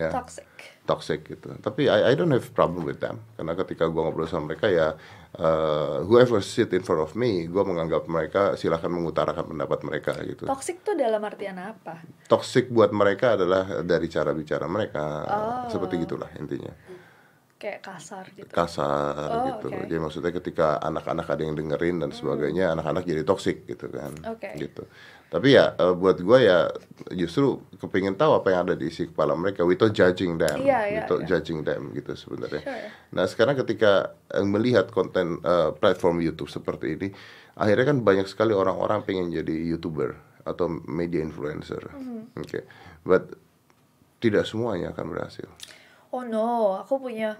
[SPEAKER 1] Ya
[SPEAKER 2] Toxic.
[SPEAKER 1] toxic gitu. Tapi I, I don't have problem with them karena ketika gua ngobrol sama mereka ya uh, whoever sit in front of me, gua menganggap mereka silahkan mengutarakan pendapat mereka gitu.
[SPEAKER 2] Toxic tuh dalam artian apa?
[SPEAKER 1] Toxic buat mereka adalah dari cara bicara mereka
[SPEAKER 2] Oh.
[SPEAKER 1] seperti gitulah intinya
[SPEAKER 2] kayak kasar gitu.
[SPEAKER 1] kasar
[SPEAKER 2] Oh,
[SPEAKER 1] gitu.
[SPEAKER 2] oke. Hmm.
[SPEAKER 1] Jadi maksudnya ketika anak-anak ada yang dengerin dan sebagainya, anak-anak jadi toksik gitu kan.
[SPEAKER 2] Oke.
[SPEAKER 1] Gitu. Tapi ya eh, buat gue ya justru kepingin tahu apa yang ada di isi kepala mereka without judging them,
[SPEAKER 2] Iya, iya,
[SPEAKER 1] without
[SPEAKER 2] iya.
[SPEAKER 1] judging them gitu sebenarnya.
[SPEAKER 2] Sure.
[SPEAKER 1] Nah sekarang ketika eh, melihat konten eh, platform YouTube seperti ini, akhirnya kan banyak sekali orang-orang pengen jadi youtuber atau media influencer,
[SPEAKER 2] Hmm.
[SPEAKER 1] oke, but tidak semuanya akan berhasil.
[SPEAKER 2] Oh no, aku punya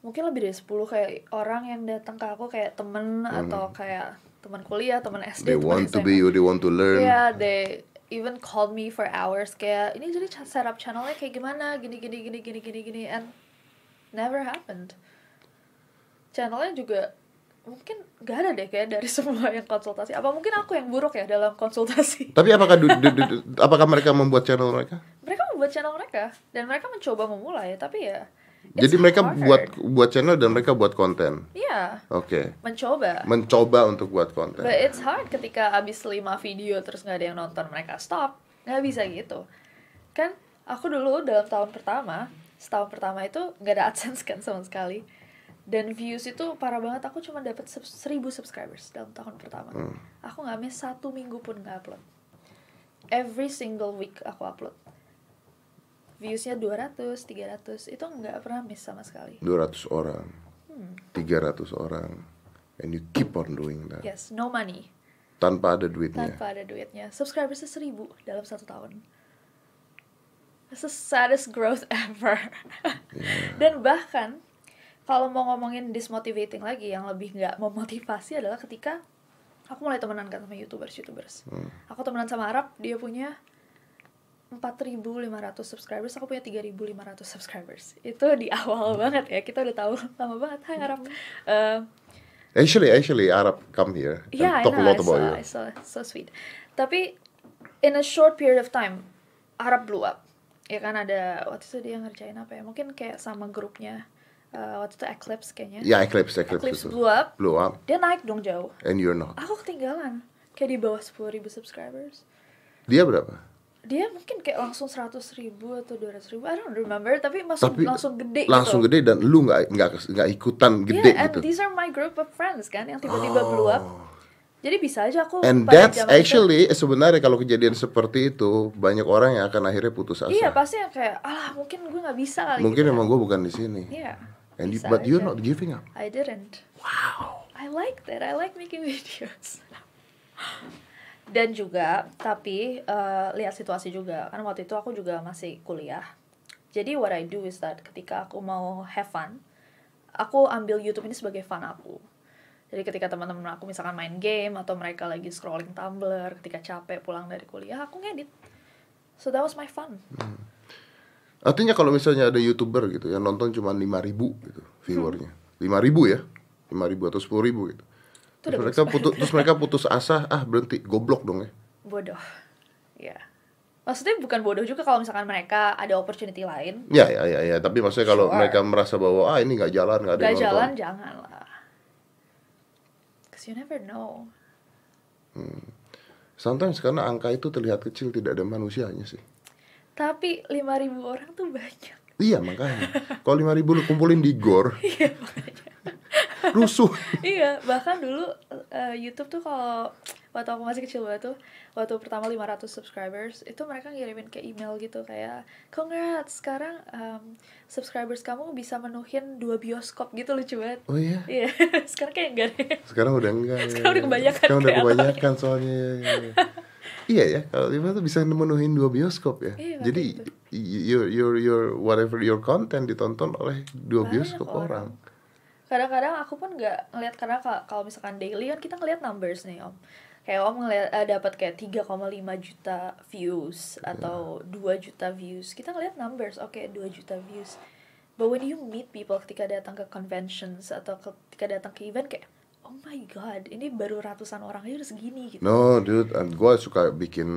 [SPEAKER 2] mungkin lebih dari 10 kayak orang yang datang ke aku kayak temen atau kayak teman kuliah, teman
[SPEAKER 1] Hmm.
[SPEAKER 2] SD,
[SPEAKER 1] They
[SPEAKER 2] teman
[SPEAKER 1] want to
[SPEAKER 2] SMA.
[SPEAKER 1] be you, they want to learn.
[SPEAKER 2] Yeah, they even called me for hours kayak ini jadi cha- setup channelnya kayak gimana gini gini gini gini gini gini and never happened. Channelnya juga mungkin gak ada deh kayak dari <laughs> semua yang konsultasi. Apa mungkin aku yang buruk ya dalam konsultasi?
[SPEAKER 1] Tapi apakah du- du- du- du- apakah mereka membuat channel mereka?
[SPEAKER 2] mereka membuat channel mereka dan mereka mencoba memulai tapi ya it's
[SPEAKER 1] Jadi mereka
[SPEAKER 2] hard.
[SPEAKER 1] buat buat channel dan mereka buat konten.
[SPEAKER 2] Iya,
[SPEAKER 1] Oke.
[SPEAKER 2] mencoba
[SPEAKER 1] Mencoba untuk buat konten.
[SPEAKER 2] but it's hard ketika abis 5 video terus nggak ada yang nonton mereka stop nggak bisa gitu kan aku dulu dalam tahun pertama setahun pertama itu nggak ada adsense kan sama sekali dan views itu parah banget aku cuma dapat 1000 subscribers dalam tahun pertama aku nggak miss satu minggu pun nggak upload every single week aku upload viewsnya 200, 300 itu nggak pernah miss sama sekali
[SPEAKER 1] 200 orang. 300 orang. And you keep on doing that.
[SPEAKER 2] Yes, no money.
[SPEAKER 1] Tanpa ada duitnya.
[SPEAKER 2] Tanpa ada duitnya. Subscribersnya seribu dalam satu tahun. That's the saddest growth <laughs> ever. Dan bahkan, kalau mau ngomongin dismotivating lagi, yang lebih nggak memotivasi adalah ketika aku mulai temenan kan sama YouTubers-YouTubers.
[SPEAKER 1] Hmm.
[SPEAKER 2] Aku temenan sama Arab, dia punya 4.500 subscribers, aku punya 3.500 subscribers. Itu di awal <laughs> banget ya, kita udah tahu lama banget. Hai Arab. Eh,
[SPEAKER 1] Actually, actually Arab come here and
[SPEAKER 2] Yeah, I
[SPEAKER 1] talk
[SPEAKER 2] know.
[SPEAKER 1] a
[SPEAKER 2] uh,
[SPEAKER 1] lot
[SPEAKER 2] I
[SPEAKER 1] about
[SPEAKER 2] saw,
[SPEAKER 1] you.
[SPEAKER 2] I saw. So sweet. Tapi in a short period of time, Arab blew up. Ya kan ada waktu itu dia ngerjain apa ya? Mungkin kayak sama grupnya eh, waktu itu Eclipse kayaknya.
[SPEAKER 1] Ya, Eclipse, Eclipse,
[SPEAKER 2] Eclipse
[SPEAKER 1] itu.
[SPEAKER 2] blew up.
[SPEAKER 1] Blow up
[SPEAKER 2] Dia naik dong jauh.
[SPEAKER 1] and you're not.
[SPEAKER 2] Aku ketinggalan. Kayak di bawah 10.000 subscribers.
[SPEAKER 1] Dia berapa?
[SPEAKER 2] dia mungkin kayak langsung 100 ribu atau 200 ribu I don't remember tapi langsung
[SPEAKER 1] Tapi
[SPEAKER 2] langsung gede
[SPEAKER 1] langsung
[SPEAKER 2] gitu
[SPEAKER 1] gede dan lu nggak nggak nggak ikutan gede
[SPEAKER 2] yeah, and
[SPEAKER 1] gitu
[SPEAKER 2] these are my group of friends kan yang tiba-tiba blew up
[SPEAKER 1] Oh.
[SPEAKER 2] jadi bisa aja aku
[SPEAKER 1] and
[SPEAKER 2] pada
[SPEAKER 1] that's
[SPEAKER 2] zaman itu-
[SPEAKER 1] actually eh, sebenarnya kalau kejadian seperti itu banyak orang yang akan akhirnya putus asa
[SPEAKER 2] iya pasti yang kayak alah mungkin gue nggak bisa kali
[SPEAKER 1] mungkin
[SPEAKER 2] gitu kan.
[SPEAKER 1] memang gue bukan di sini
[SPEAKER 2] Iya,
[SPEAKER 1] and you,
[SPEAKER 2] bisa
[SPEAKER 1] but you're
[SPEAKER 2] aja.
[SPEAKER 1] not giving up
[SPEAKER 2] I didn't. Wow. I like that. I like making <laughs> videos. Dan juga, tapi eh, lihat situasi juga. Karena waktu itu aku juga masih kuliah. Jadi what I do is that ketika aku mau have fun, aku ambil YouTube ini sebagai fun aku. Jadi ketika teman-teman aku misalkan main game atau mereka lagi scrolling Tumblr, ketika capek pulang dari kuliah, aku ngedit. So that was my fun.
[SPEAKER 1] artinya kalau misalnya ada youtuber gitu yang nonton cuma 5000 ribu gitu viewernya 5000 ya 5000 atau 10000 gitu
[SPEAKER 2] Itu udah
[SPEAKER 1] terus mereka putus terus mereka putus asa ah berhenti goblok dong ya
[SPEAKER 2] bodoh ya maksudnya bukan bodoh juga kalau misalkan mereka ada opportunity lain
[SPEAKER 1] ya ya ya, ya. tapi maksudnya kalau
[SPEAKER 2] Sure.
[SPEAKER 1] mereka merasa bahwa ah ini nggak jalan nggak ada
[SPEAKER 2] gak
[SPEAKER 1] yang nonton
[SPEAKER 2] jalan janganlah cause you never know
[SPEAKER 1] sometimes karena angka itu terlihat kecil tidak ada manusianya sih
[SPEAKER 2] tapi 5000 orang tuh
[SPEAKER 1] <laughs>
[SPEAKER 2] banyak
[SPEAKER 1] Iya makanya Kalau lima ribu lu kumpulin di gor Rusuh
[SPEAKER 2] iya bahkan dulu eh, YouTube tuh kalau waktu aku masih kecil banget tuh waktu pertama 500 subscribers itu mereka ngirimin ke email gitu kayak congrats sekarang em, subscribers kamu bisa menuhin dua bioskop gitu lucu banget
[SPEAKER 1] Oh iya
[SPEAKER 2] iya <laughs> sekarang kayak enggak deh
[SPEAKER 1] Sekarang udah enggak ya.
[SPEAKER 2] Sekarang udah kebanyakan
[SPEAKER 1] Sekarang udah
[SPEAKER 2] kayak apa
[SPEAKER 1] kebanyakan soalnya ya, ya, ya. Iya ya Kalau lima tuh bisa memenuhin dua bioskop ya
[SPEAKER 2] Iya,
[SPEAKER 1] Jadi
[SPEAKER 2] makanya
[SPEAKER 1] y- your, your, your whatever your content ditonton oleh dua
[SPEAKER 2] Banyak
[SPEAKER 1] bioskop orang.
[SPEAKER 2] orang. kadang-kadang aku pun nggak ngelihat karena ka- kalau misalkan daily kan kita ngelihat numbers nih om kayak om ngelihat eh, dapat kayak 3,5 juta views atau 2 juta views kita ngelihat numbers oke 2 juta views but when you meet people ketika datang ke conventions atau ketika datang ke event kayak oh my god ini baru ratusan orang aja udah segini gitu
[SPEAKER 1] No dude, gue suka bikin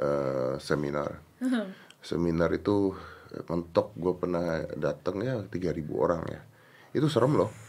[SPEAKER 1] eh, seminar Seminar itu eh, mentok gue pernah dateng ya 3000 orang ya Itu serem loh
[SPEAKER 2] <laughs>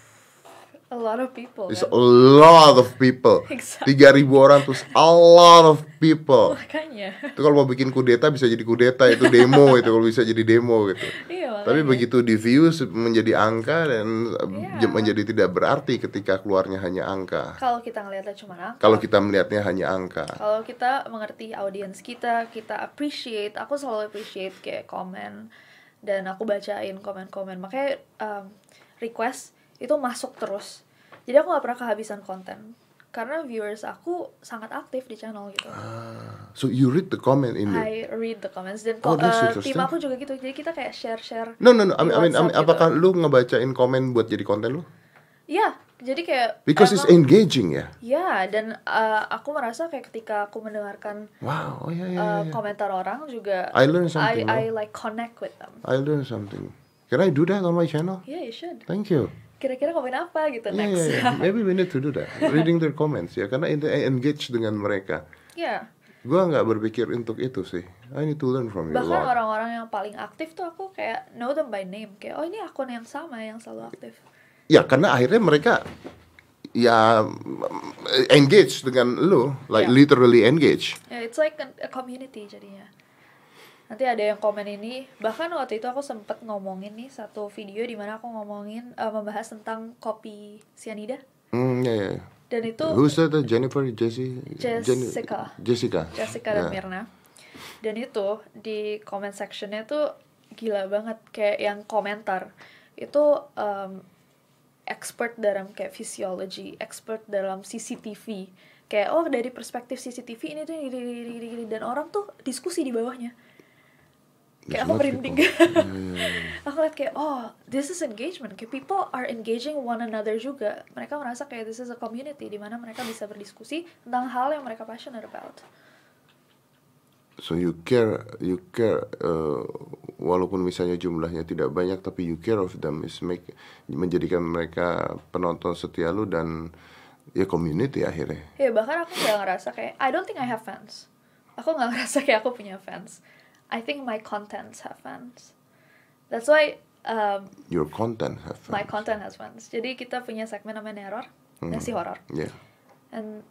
[SPEAKER 2] a lot of people
[SPEAKER 1] It's
[SPEAKER 2] kan?
[SPEAKER 1] a lot of people.
[SPEAKER 2] <laughs> Exactly.
[SPEAKER 1] Tiga ribu orang terus a lot of people.
[SPEAKER 2] <laughs> makanya
[SPEAKER 1] Itu kalau mau bikin kudeta bisa jadi kudeta itu demo
[SPEAKER 2] <laughs>
[SPEAKER 1] itu kalau bisa jadi demo gitu.
[SPEAKER 2] iya makanya
[SPEAKER 1] Tapi begitu di views menjadi angka dan uh,
[SPEAKER 2] Iya.
[SPEAKER 1] menjadi tidak berarti ketika keluarnya hanya angka.
[SPEAKER 2] kalau kita ngelihatnya cuma angka
[SPEAKER 1] Kalau kita melihatnya hanya angka.
[SPEAKER 2] kalau kita mengerti audiens kita kita appreciate aku selalu appreciate kayak komen dan aku bacain komen-komen makanya um, request itu masuk terus jadi aku nggak pernah kehabisan konten karena viewers aku sangat aktif di channel gitu
[SPEAKER 1] So you read the comment in there.
[SPEAKER 2] I read the comments dan
[SPEAKER 1] Oh,
[SPEAKER 2] ko-
[SPEAKER 1] that's
[SPEAKER 2] eh,
[SPEAKER 1] interesting.
[SPEAKER 2] tim aku juga gitu jadi kita kayak share share
[SPEAKER 1] No no no. I
[SPEAKER 2] di
[SPEAKER 1] mean, I mean, I mean,
[SPEAKER 2] WhatsApp
[SPEAKER 1] apakah
[SPEAKER 2] gitu.
[SPEAKER 1] lu ngebacain komen buat jadi konten lu?
[SPEAKER 2] Iya, jadi kayak
[SPEAKER 1] Because it's
[SPEAKER 2] emang-
[SPEAKER 1] engaging ya.
[SPEAKER 2] Ya, dan eh, aku merasa kayak ketika aku mendengarkan
[SPEAKER 1] Wow. Oh ya ya.
[SPEAKER 2] eh,
[SPEAKER 1] ya.
[SPEAKER 2] komentar orang juga
[SPEAKER 1] I learned
[SPEAKER 2] I,
[SPEAKER 1] something.
[SPEAKER 2] I
[SPEAKER 1] loh.
[SPEAKER 2] like connect with them.
[SPEAKER 1] I learned something. Can I do that on my channel?
[SPEAKER 2] Yeah, you should.
[SPEAKER 1] Thank you.
[SPEAKER 2] Kira-kira komen apa gitu
[SPEAKER 1] Yeah,
[SPEAKER 2] next?
[SPEAKER 1] yeah, yeah. Maybe we need to do that. Reading their comments ya, karena ini engage dengan mereka.
[SPEAKER 2] <laughs> Yeah.
[SPEAKER 1] Gua nggak berpikir untuk itu sih. I need to learn from you a
[SPEAKER 2] Bahkan
[SPEAKER 1] lot.
[SPEAKER 2] orang-orang yang paling aktif tuh aku kayak know them by name. Kayak oh ini akun yang sama yang selalu aktif.
[SPEAKER 1] Ya, karena akhirnya mereka ya engage dengan lu, like
[SPEAKER 2] Yeah.
[SPEAKER 1] literally engage.
[SPEAKER 2] Ya, it's like a, a community jadinya. Nanti ada yang komen ini, bahkan waktu itu aku sempet ngomongin nih satu video di mana aku ngomongin eh, membahas tentang kopi sianida
[SPEAKER 1] Hmm, ya ya.
[SPEAKER 2] dan itu
[SPEAKER 1] Who's that? uh, Jennifer, Jesse, Jenny-
[SPEAKER 2] Jessica.
[SPEAKER 1] Jessica.
[SPEAKER 2] Jessica dan
[SPEAKER 1] Ya.
[SPEAKER 2] Mirna. Dan itu di comment sectionnya tuh gila banget kayak yang komentar itu em, expert dalam kayak physiology, expert dalam CCTV. Kayak oh dari perspektif CCTV ini tuh ini, ini, ini, ini, ini. dan orang tuh diskusi di bawahnya.
[SPEAKER 1] It's
[SPEAKER 2] Kayak aku
[SPEAKER 1] not
[SPEAKER 2] merinding. <laughs>
[SPEAKER 1] people. Ya, ya, ya.
[SPEAKER 2] Aku liat kayak oh this is engagement. Kayak people are engaging one another juga. Mereka merasa kayak this is a community di mana mereka bisa berdiskusi tentang hal yang mereka passionate about.
[SPEAKER 1] So you care, you care, uh, walaupun misalnya jumlahnya tidak banyak, tapi you care of them is make menjadikan mereka penonton setia lu dan ya community akhirnya.
[SPEAKER 2] Ya bahkan aku nggak ngerasa kayak I don't think I have fans. Aku nggak <laughs> ngerasa kayak aku punya fans. I think my contents have fans. That's why um,
[SPEAKER 1] Your content have
[SPEAKER 2] my content has fans. Hmm. Jadi kita punya segmen namanya neror, nasi horor,
[SPEAKER 1] Yeah.
[SPEAKER 2] and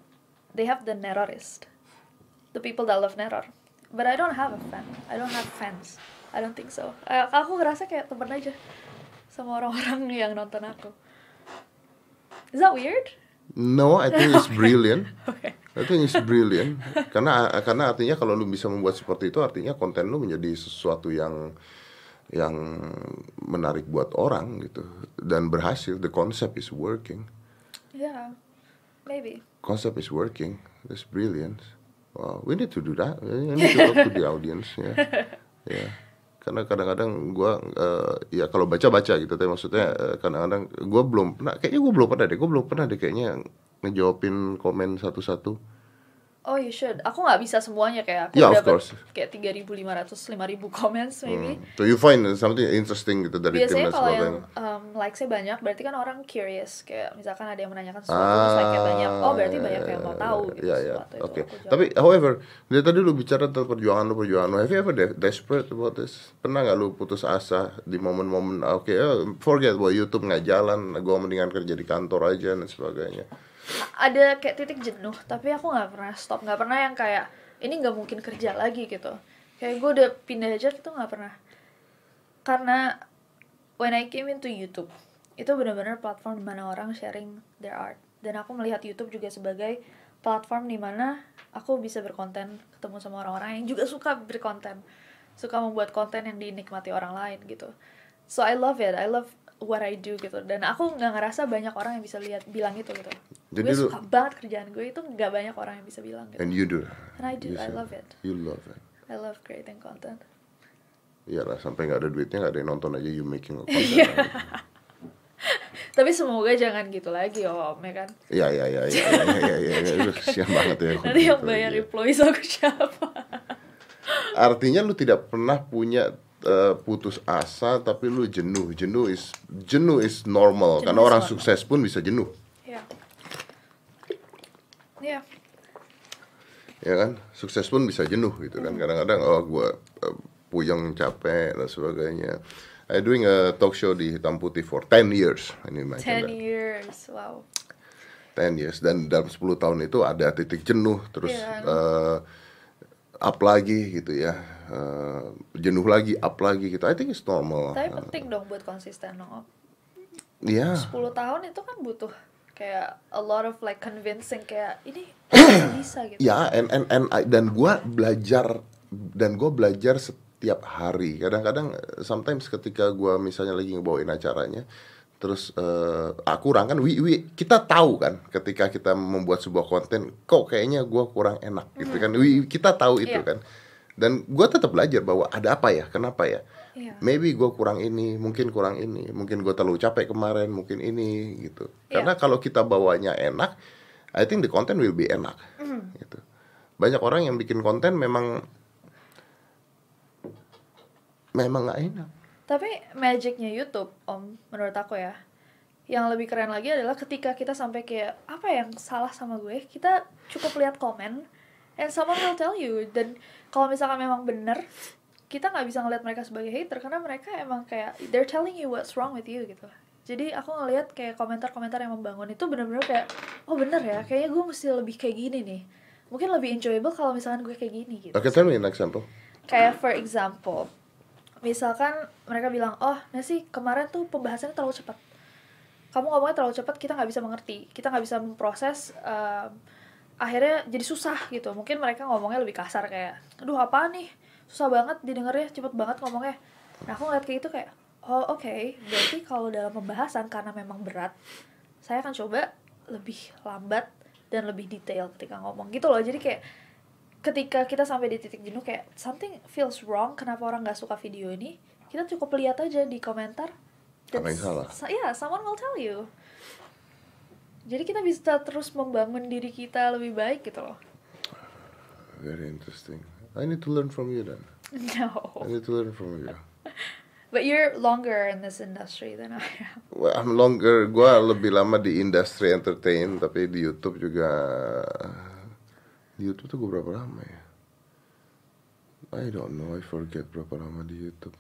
[SPEAKER 2] they have the nerorist, the people that love neror. but I don't have a fan I don't have fans I don't think so Eh, aku ngerasa kayak temen aja sama orang-orang <laughs> yang nonton aku is that weird
[SPEAKER 1] No, I think it's brilliant.
[SPEAKER 2] <laughs> okay
[SPEAKER 1] I think it's brilliant. karena karena artinya kalau lu bisa membuat seperti itu artinya konten lu menjadi sesuatu yang yang menarik buat orang gitu dan berhasil. The concept is working.
[SPEAKER 2] yeah maybe
[SPEAKER 1] Concept is working. That's brilliant. Wow, we need to do that. We need to talk to the audience.
[SPEAKER 2] <laughs>
[SPEAKER 1] Yeah. Yeah. Karena kadang-kadang gua eh, ya kalau baca-baca gitu, tapi maksudnya eh, kadang-kadang gua belum pernah. Kayaknya gua belum pernah deh. Gua belum pernah deh kayaknya ngejawabin komen satu-satu.
[SPEAKER 2] Oh you should. Aku nggak bisa semuanya kayak aku
[SPEAKER 1] Yeah, of
[SPEAKER 2] dapat
[SPEAKER 1] course.
[SPEAKER 2] kayak 3.500 5.000 comments maybe.
[SPEAKER 1] Hmm. So you find something interesting gitu dari tim
[SPEAKER 2] Eh? Biasanya
[SPEAKER 1] dan
[SPEAKER 2] kalau yang
[SPEAKER 1] sebagainya.
[SPEAKER 2] um, likes-nya banyak berarti kan orang curious kayak misalkan ada yang menanyakan sesuatu terus
[SPEAKER 1] Ah,
[SPEAKER 2] like-nya banyak. Oh berarti banyak yang mau tahu gitu
[SPEAKER 1] Ya, ya.
[SPEAKER 2] sesuatu itu.
[SPEAKER 1] Oke.
[SPEAKER 2] Aku jawab.
[SPEAKER 1] Tapi however, dari tadi lu bicara tentang perjuangan lu, perjuangan lu. Have you ever de- desperate about this? Pernah nggak lu putus asa di momen-momen ah, oke, eh, forget bahwa YouTube nggak jalan, gua mendingan kerja di kantor aja dan sebagainya.
[SPEAKER 2] ada kayak titik jenuh tapi aku nggak pernah stop nggak pernah yang kayak ini nggak mungkin kerja lagi gitu kayak gue udah pindah aja gitu nggak pernah karena when I came into YouTube itu benar-benar platform dimana orang sharing their art dan aku melihat YouTube juga sebagai platform dimana aku bisa berkonten ketemu sama orang-orang yang juga suka berkonten suka membuat konten yang dinikmati orang lain gitu so I love it I love what I do gitu dan aku nggak ngerasa banyak orang yang bisa lihat bilang itu gitu
[SPEAKER 1] Jadi
[SPEAKER 2] gue
[SPEAKER 1] lu-
[SPEAKER 2] suka banget kerjaan gue itu nggak banyak orang yang bisa bilang gitu
[SPEAKER 1] And you do.
[SPEAKER 2] and I do
[SPEAKER 1] You said-
[SPEAKER 2] I love it
[SPEAKER 1] You love it.
[SPEAKER 2] I love creating content
[SPEAKER 1] Iyalah sampai nggak ada duitnya nggak ada yang nonton aja you making a content.
[SPEAKER 2] Iya. tapi semoga jangan gitu lagi om ya kan
[SPEAKER 1] Iya iya iya iya iya iya. iya. Aduh, Kesian banget ya.
[SPEAKER 2] nanti yang
[SPEAKER 1] Iya.
[SPEAKER 2] bayar employees aku siapa
[SPEAKER 1] artinya lu tidak pernah punya eh, putus asa tapi lu jenuh jenuh is jenuh is normal
[SPEAKER 2] Jenuh
[SPEAKER 1] karena
[SPEAKER 2] is
[SPEAKER 1] orang
[SPEAKER 2] normal.
[SPEAKER 1] sukses pun bisa jenuh
[SPEAKER 2] ya ya
[SPEAKER 1] ya kan sukses pun bisa jenuh gitu
[SPEAKER 2] Hmm.
[SPEAKER 1] kan kadang-kadang oh gua eh, puyeng capek dan sebagainya I doing a talk show di hitam putih for 10 years ini
[SPEAKER 2] 10
[SPEAKER 1] 10
[SPEAKER 2] years wow
[SPEAKER 1] 10 years dan dalam 10 tahun itu ada titik jenuh terus
[SPEAKER 2] Iya.
[SPEAKER 1] eh, up lagi gitu ya Eh, jenuh lagi up lagi gitu I think it's normal
[SPEAKER 2] tapi penting dong buat konsisten dong om
[SPEAKER 1] ya
[SPEAKER 2] 10 tahun itu kan butuh kayak a lot of like convincing kayak ini bisa, bisa gitu
[SPEAKER 1] <clears throat> Ya, and and and I- dan gua belajar dan gua belajar setiap hari. Kadang-kadang eh, sometimes ketika gua misalnya lagi ngebawain acaranya, terus eh, ah, kurang kan, we, we- kita tahu kan ketika kita membuat sebuah konten, kok kayaknya gua kurang enak gitu kan. We, kita tahu itu
[SPEAKER 2] Hmm. Iya.
[SPEAKER 1] kan. Dan gua tetap belajar bahwa ada apa ya, kenapa ya.
[SPEAKER 2] Iya.
[SPEAKER 1] Maybe gua kurang ini, mungkin kurang ini, mungkin gua terlalu capek kemarin, mungkin ini gitu.
[SPEAKER 2] Iya.
[SPEAKER 1] Karena kalau kita bawanya enak, I think the content will be enak. Gitu. Banyak orang yang bikin konten memang memang nggak enak.
[SPEAKER 2] Tapi magicnya YouTube, Om, menurut aku ya. Yang lebih keren lagi adalah ketika kita sampai kayak apa yang salah sama gue, kita cukup lihat komen and someone will tell you dan kalau misalkan memang bener kita nggak bisa ngelihat mereka sebagai hater karena mereka emang kayak they're telling you what's wrong with you gitu jadi aku ngelihat kayak komentar-komentar yang membangun itu bener-bener kayak oh bener ya kayaknya gue mesti lebih kayak gini nih mungkin lebih enjoyable kalau misalkan gue kayak gini gitu
[SPEAKER 1] Oke, tell me an example.
[SPEAKER 2] kayak for example misalkan mereka bilang oh nasi kemarin tuh pembahasannya terlalu cepat kamu ngomongnya terlalu cepat kita nggak bisa mengerti kita nggak bisa memproses em, akhirnya jadi susah gitu mungkin mereka ngomongnya lebih kasar kayak aduh apa nih susah banget didengarnya cepet banget ngomongnya nah aku ngeliat kayak itu kayak oh oke berarti kalau dalam pembahasan karena memang berat saya akan coba lebih lambat dan lebih detail ketika ngomong gitu loh jadi kayak ketika kita sampai di titik jenuh kayak something feels wrong kenapa orang nggak suka video ini kita cukup lihat aja di komentar dan
[SPEAKER 1] Apa yang salah?
[SPEAKER 2] sa- ya someone will tell you jadi kita bisa terus membangun diri kita lebih baik gitu loh <laughs>
[SPEAKER 1] Very interesting. I need to learn from you then. I
[SPEAKER 2] no
[SPEAKER 1] need to learn from you.
[SPEAKER 2] but you're longer in this industry than I am <laughs>
[SPEAKER 1] Well, I'm longer. Gua lebih lama di industri entertain, tapi di YouTube juga. Di YouTube tuh gue berapa lama ya? I don't know. I forget berapa lama di YouTube.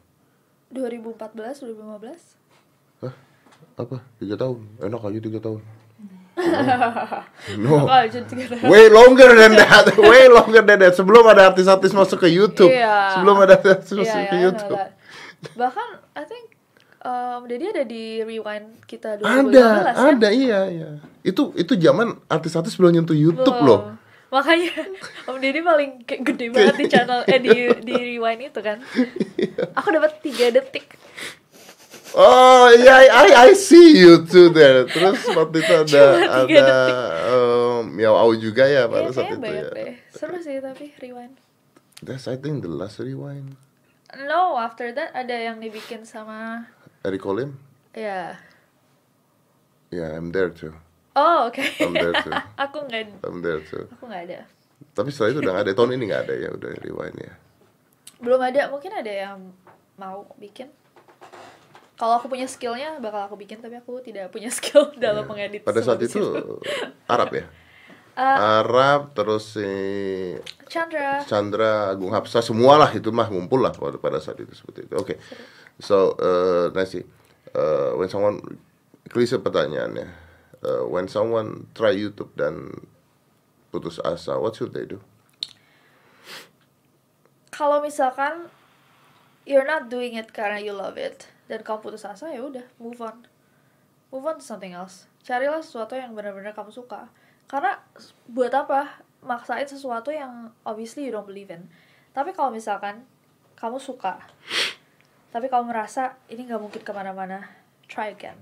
[SPEAKER 2] 2014 2015
[SPEAKER 1] Hah? Apa? Tiga tahun? <laughs> Enak aja tiga tahun.
[SPEAKER 2] <laughs>
[SPEAKER 1] No.
[SPEAKER 2] Bakal jadi gitu.
[SPEAKER 1] Way longer than that. <laughs> Way longer than that. Sebelum ada artis-artis masuk ke YouTube.
[SPEAKER 2] Iya.
[SPEAKER 1] Sebelum ada artis
[SPEAKER 2] Iya,
[SPEAKER 1] masuk
[SPEAKER 2] iya,
[SPEAKER 1] ke
[SPEAKER 2] I know
[SPEAKER 1] YouTube.
[SPEAKER 2] that. Bahkan I think um, Dedi ada di rewind kita 2015
[SPEAKER 1] Ada,
[SPEAKER 2] kan?
[SPEAKER 1] ada iya, iya. Itu itu zaman artis-artis belum nyentuh YouTube loh.
[SPEAKER 2] Belum.
[SPEAKER 1] <laughs>
[SPEAKER 2] Makanya <laughs> Om Deddy paling kayak gede banget di channel eh di di rewind itu kan.
[SPEAKER 1] Iya.
[SPEAKER 2] Aku dapat 3 detik.
[SPEAKER 1] Oh iya, I, I, I see you too there. Terus waktu
[SPEAKER 2] <laughs>
[SPEAKER 1] itu ada
[SPEAKER 2] Cuma tiga
[SPEAKER 1] ada um, ya Au juga ya
[SPEAKER 2] Ya,
[SPEAKER 1] pada saat
[SPEAKER 2] kayaknya
[SPEAKER 1] itu
[SPEAKER 2] banyak
[SPEAKER 1] ya.
[SPEAKER 2] deh. Seru sih tapi rewind.
[SPEAKER 1] That's I think the last rewind.
[SPEAKER 2] No, after that ada yang dibikin sama
[SPEAKER 1] Eric Colim.
[SPEAKER 2] ya.
[SPEAKER 1] Yeah, I'm there too.
[SPEAKER 2] Oh, oke.
[SPEAKER 1] I'm there too.
[SPEAKER 2] <laughs> aku nggak
[SPEAKER 1] I'm there too.
[SPEAKER 2] aku nggak ada.
[SPEAKER 1] Tapi setelah itu udah nggak ada. Tahun ini nggak ada ya udah rewind ya.
[SPEAKER 2] Belum ada, mungkin ada yang mau bikin. Kalau aku punya skillnya bakal aku bikin, tapi aku tidak punya <laughs> skill
[SPEAKER 1] Ya.
[SPEAKER 2] dalam mengedit.
[SPEAKER 1] Pada saat
[SPEAKER 2] sebagus
[SPEAKER 1] itu Arab
[SPEAKER 2] <laughs>
[SPEAKER 1] ya.
[SPEAKER 2] Eh,
[SPEAKER 1] Arab terus si
[SPEAKER 2] Chandra,
[SPEAKER 1] Chandra Agung Hapsa semualah itu mah ngumpul lah pada pada saat itu seperti itu. Oke. So, uh, Nancy, uh, when someone klise pertanyaannya, uh, when someone try YouTube dan putus asa, what should they do?
[SPEAKER 2] kalau misalkan you're not doing it karena you love it dan kamu putus asa ya udah move on move on to something else carilah sesuatu yang benar-benar kamu suka karena s- buat apa maksain sesuatu yang obviously you don't believe in tapi kalau misalkan kamu suka tapi kamu merasa ini nggak mungkin kemana-mana try again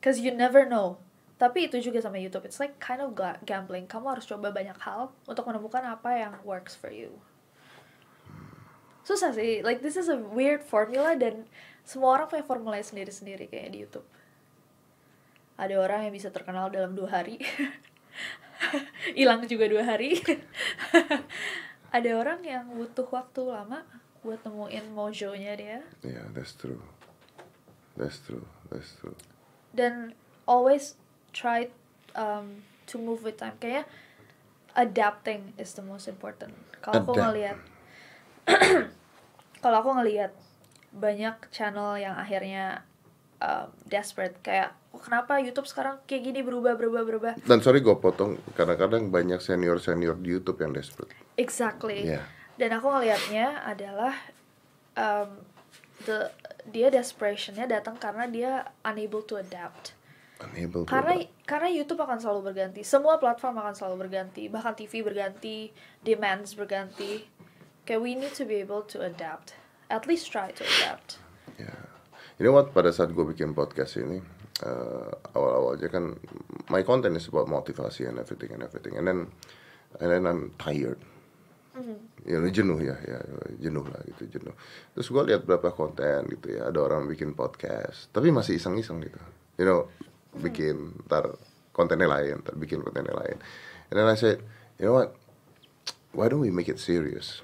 [SPEAKER 2] cause you never know tapi itu juga sama YouTube it's like kind of ga- gambling kamu harus coba banyak hal untuk menemukan apa yang works for you susah sih like this is a weird formula dan semua orang punya formula sendiri-sendiri kayak di YouTube ada orang yang bisa terkenal dalam dua hari <laughs> hilang juga dua hari <laughs> ada orang yang butuh waktu lama buat nemuin mojonya dia
[SPEAKER 1] Yeah, Ya, that's true. That's true. That's true.
[SPEAKER 2] dan always try um, to move with time kayaknya adapting is the most important kalau
[SPEAKER 1] Adapt.
[SPEAKER 2] aku ngelihat <clears throat> kalau aku ngelihat banyak channel yang akhirnya um, desperate kayak "Oh, kenapa YouTube sekarang kayak gini berubah berubah berubah
[SPEAKER 1] Dan sorry gue potong, kadang-kadang banyak senior-senior di YouTube yang desperate.
[SPEAKER 2] exactly
[SPEAKER 1] Yeah.
[SPEAKER 2] dan aku ngelihatnya adalah um, the dia desperationnya datang karena dia unable to adapt
[SPEAKER 1] Unable to
[SPEAKER 2] karena
[SPEAKER 1] adapt.
[SPEAKER 2] karena YouTube akan selalu berganti semua platform akan selalu berganti bahkan TV berganti demands berganti kayak we need to be able to adapt at least try to adapt
[SPEAKER 1] Ya. You know what? Pada saat gue bikin podcast ini eh, awal-awal aja kan my content is about motivasi and everything and everything and then and then I'm tired. Ya lu jenuh ya, ya jenuh lah gitu jenuh. Terus gue lihat berapa konten gitu ya, ada orang bikin podcast, tapi masih iseng-iseng gitu. You know, bikin ntar kontennya lain, ntar bikin kontennya lain. And then I said, you know what? Why don't we make it serious?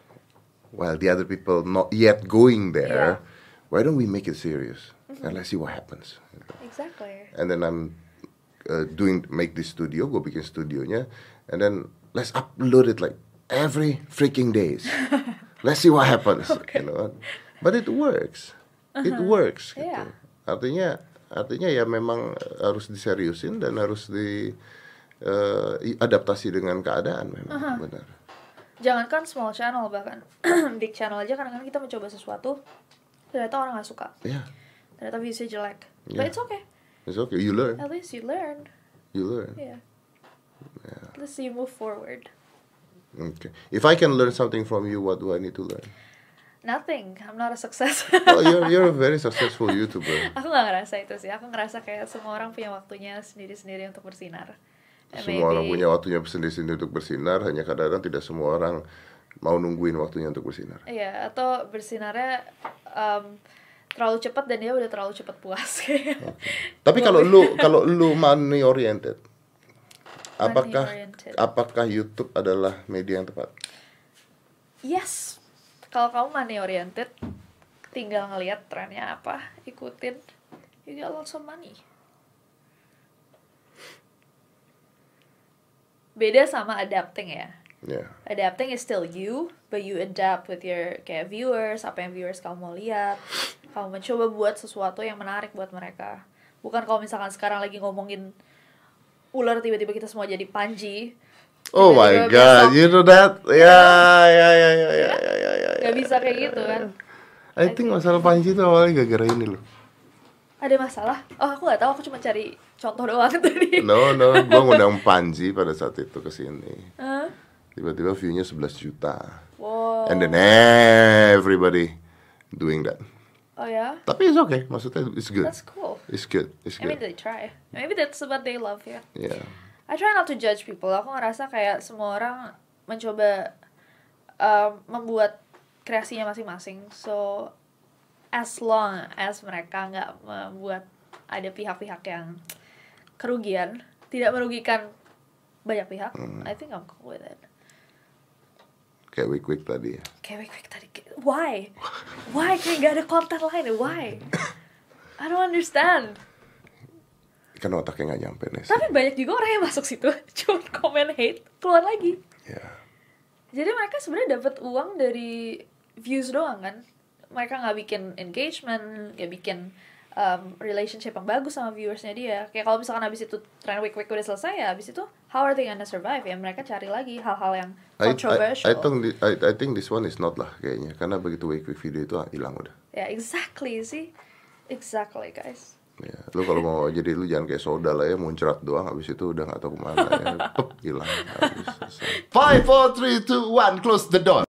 [SPEAKER 1] While the other people not yet going there,
[SPEAKER 2] Yeah.
[SPEAKER 1] why don't we make it serious and let's see what happens
[SPEAKER 2] exactly
[SPEAKER 1] and then I'm uh, doing make this studio gue bikin studionya and then let's upload it like every freaking days let's see what happens you know but it works it works gitu
[SPEAKER 2] Yeah.
[SPEAKER 1] artinya artinya ya memang uh, harus diseriusin dan harus di eh, i- adaptasi dengan keadaan memang benar
[SPEAKER 2] jangankan small channel bahkan <clears throat> big channel aja kadang-kadang kita mencoba sesuatu ternyata orang nggak suka
[SPEAKER 1] ya
[SPEAKER 2] ternyata viewsnya jelek
[SPEAKER 1] Yeah.
[SPEAKER 2] but it's okay
[SPEAKER 1] it's okay you learn
[SPEAKER 2] at least you learn
[SPEAKER 1] you learn
[SPEAKER 2] yeah at least you move forward
[SPEAKER 1] okay if I can learn something from you what do I need to learn
[SPEAKER 2] nothing I'm not a success
[SPEAKER 1] <laughs> well you're you're a very successful YouTuber
[SPEAKER 2] <laughs> aku nggak ngerasa itu sih aku ngerasa kayak semua orang punya waktunya sendiri-sendiri untuk bersinar And
[SPEAKER 1] Semua orang
[SPEAKER 2] maybe-
[SPEAKER 1] punya waktunya sendiri-sendiri untuk bersinar, hanya kadang-kadang tidak semua orang mau nungguin waktunya untuk bersinar.
[SPEAKER 2] iya atau bersinarnya em, terlalu cepat dan dia udah terlalu cepat puas <laughs>
[SPEAKER 1] Tapi kalau lu kalau lu money oriented, apakah
[SPEAKER 2] Money-oriented.
[SPEAKER 1] apakah YouTube adalah media yang tepat?
[SPEAKER 2] yes kalau kamu money oriented tinggal ngelihat trennya apa ikutin you get lots of money beda sama adapting ya
[SPEAKER 1] Ya.
[SPEAKER 2] adapting is still you, but you adapt with your kayak viewers, apa yang viewers kamu mau lihat. Kamu mencoba buat sesuatu yang menarik buat mereka. Bukan kalau misalkan sekarang lagi ngomongin ular tiba-tiba kita semua jadi Panji
[SPEAKER 1] Oh my
[SPEAKER 2] Tiba-tiba
[SPEAKER 1] god,
[SPEAKER 2] besok.
[SPEAKER 1] you know that? Ya, ya, ya, ya, ya, ya, ya, ya, ya.
[SPEAKER 2] nggak bisa kayak gitu kan
[SPEAKER 1] I think masalah Panji itu awalnya gara-gara ini loh.
[SPEAKER 2] ada masalah oh aku nggak tahu aku cuma cari contoh doang <laughs> tadi
[SPEAKER 1] No, no, gua ngundang Panji pada saat itu ke sini.
[SPEAKER 2] Hah?
[SPEAKER 1] Tiba-tiba view-nya 11 juta.
[SPEAKER 2] wow
[SPEAKER 1] And then everybody doing that.
[SPEAKER 2] oh ya
[SPEAKER 1] Tapi it's okay, maksudnya it's good.
[SPEAKER 2] that's cool
[SPEAKER 1] It's good, it's
[SPEAKER 2] I mean
[SPEAKER 1] good.
[SPEAKER 2] they try maybe that's what they love ya
[SPEAKER 1] Yeah.
[SPEAKER 2] I try not to judge people. Aku ngerasa kayak semua orang mencoba um, membuat kreasinya masing-masing. So as long as mereka nggak membuat ada pihak-pihak yang kerugian, tidak merugikan banyak pihak,
[SPEAKER 1] Hmm.
[SPEAKER 2] I think I'm cool with it.
[SPEAKER 1] Kayak week-week tadi ya.
[SPEAKER 2] Kayak wait, wait, tadi, kayak- why? Why kayak nggak ada konten lain? ya? Why? I don't understand.
[SPEAKER 1] Kan otaknya nggak nyampe nih.
[SPEAKER 2] Tapi banyak juga orang yang masuk situ, <laughs> cuma komen hate, keluar lagi.
[SPEAKER 1] Ya.
[SPEAKER 2] Jadi mereka sebenarnya dapat uang dari views doang kan? Mereka nggak bikin engagement, nggak bikin um, relationship yang bagus sama viewersnya dia. Kayak kalau misalkan abis itu trend week week udah selesai ya, abis itu how are they gonna survive? Ya mereka cari lagi hal-hal yang
[SPEAKER 1] I, I,
[SPEAKER 2] controversial.
[SPEAKER 1] I, think, thi- I, I think this one is not lah kayaknya karena begitu week-week video itu ah, hilang udah.
[SPEAKER 2] Ya exactly sih, exactly guys.
[SPEAKER 1] Ya, lu kalau mau <laughs> jadi lu jangan kayak soda lah ya, muncrat doang habis itu udah nggak tahu kemana ya, Pep, hilang. habis, selesai. Five, four, three, two, one, close the door.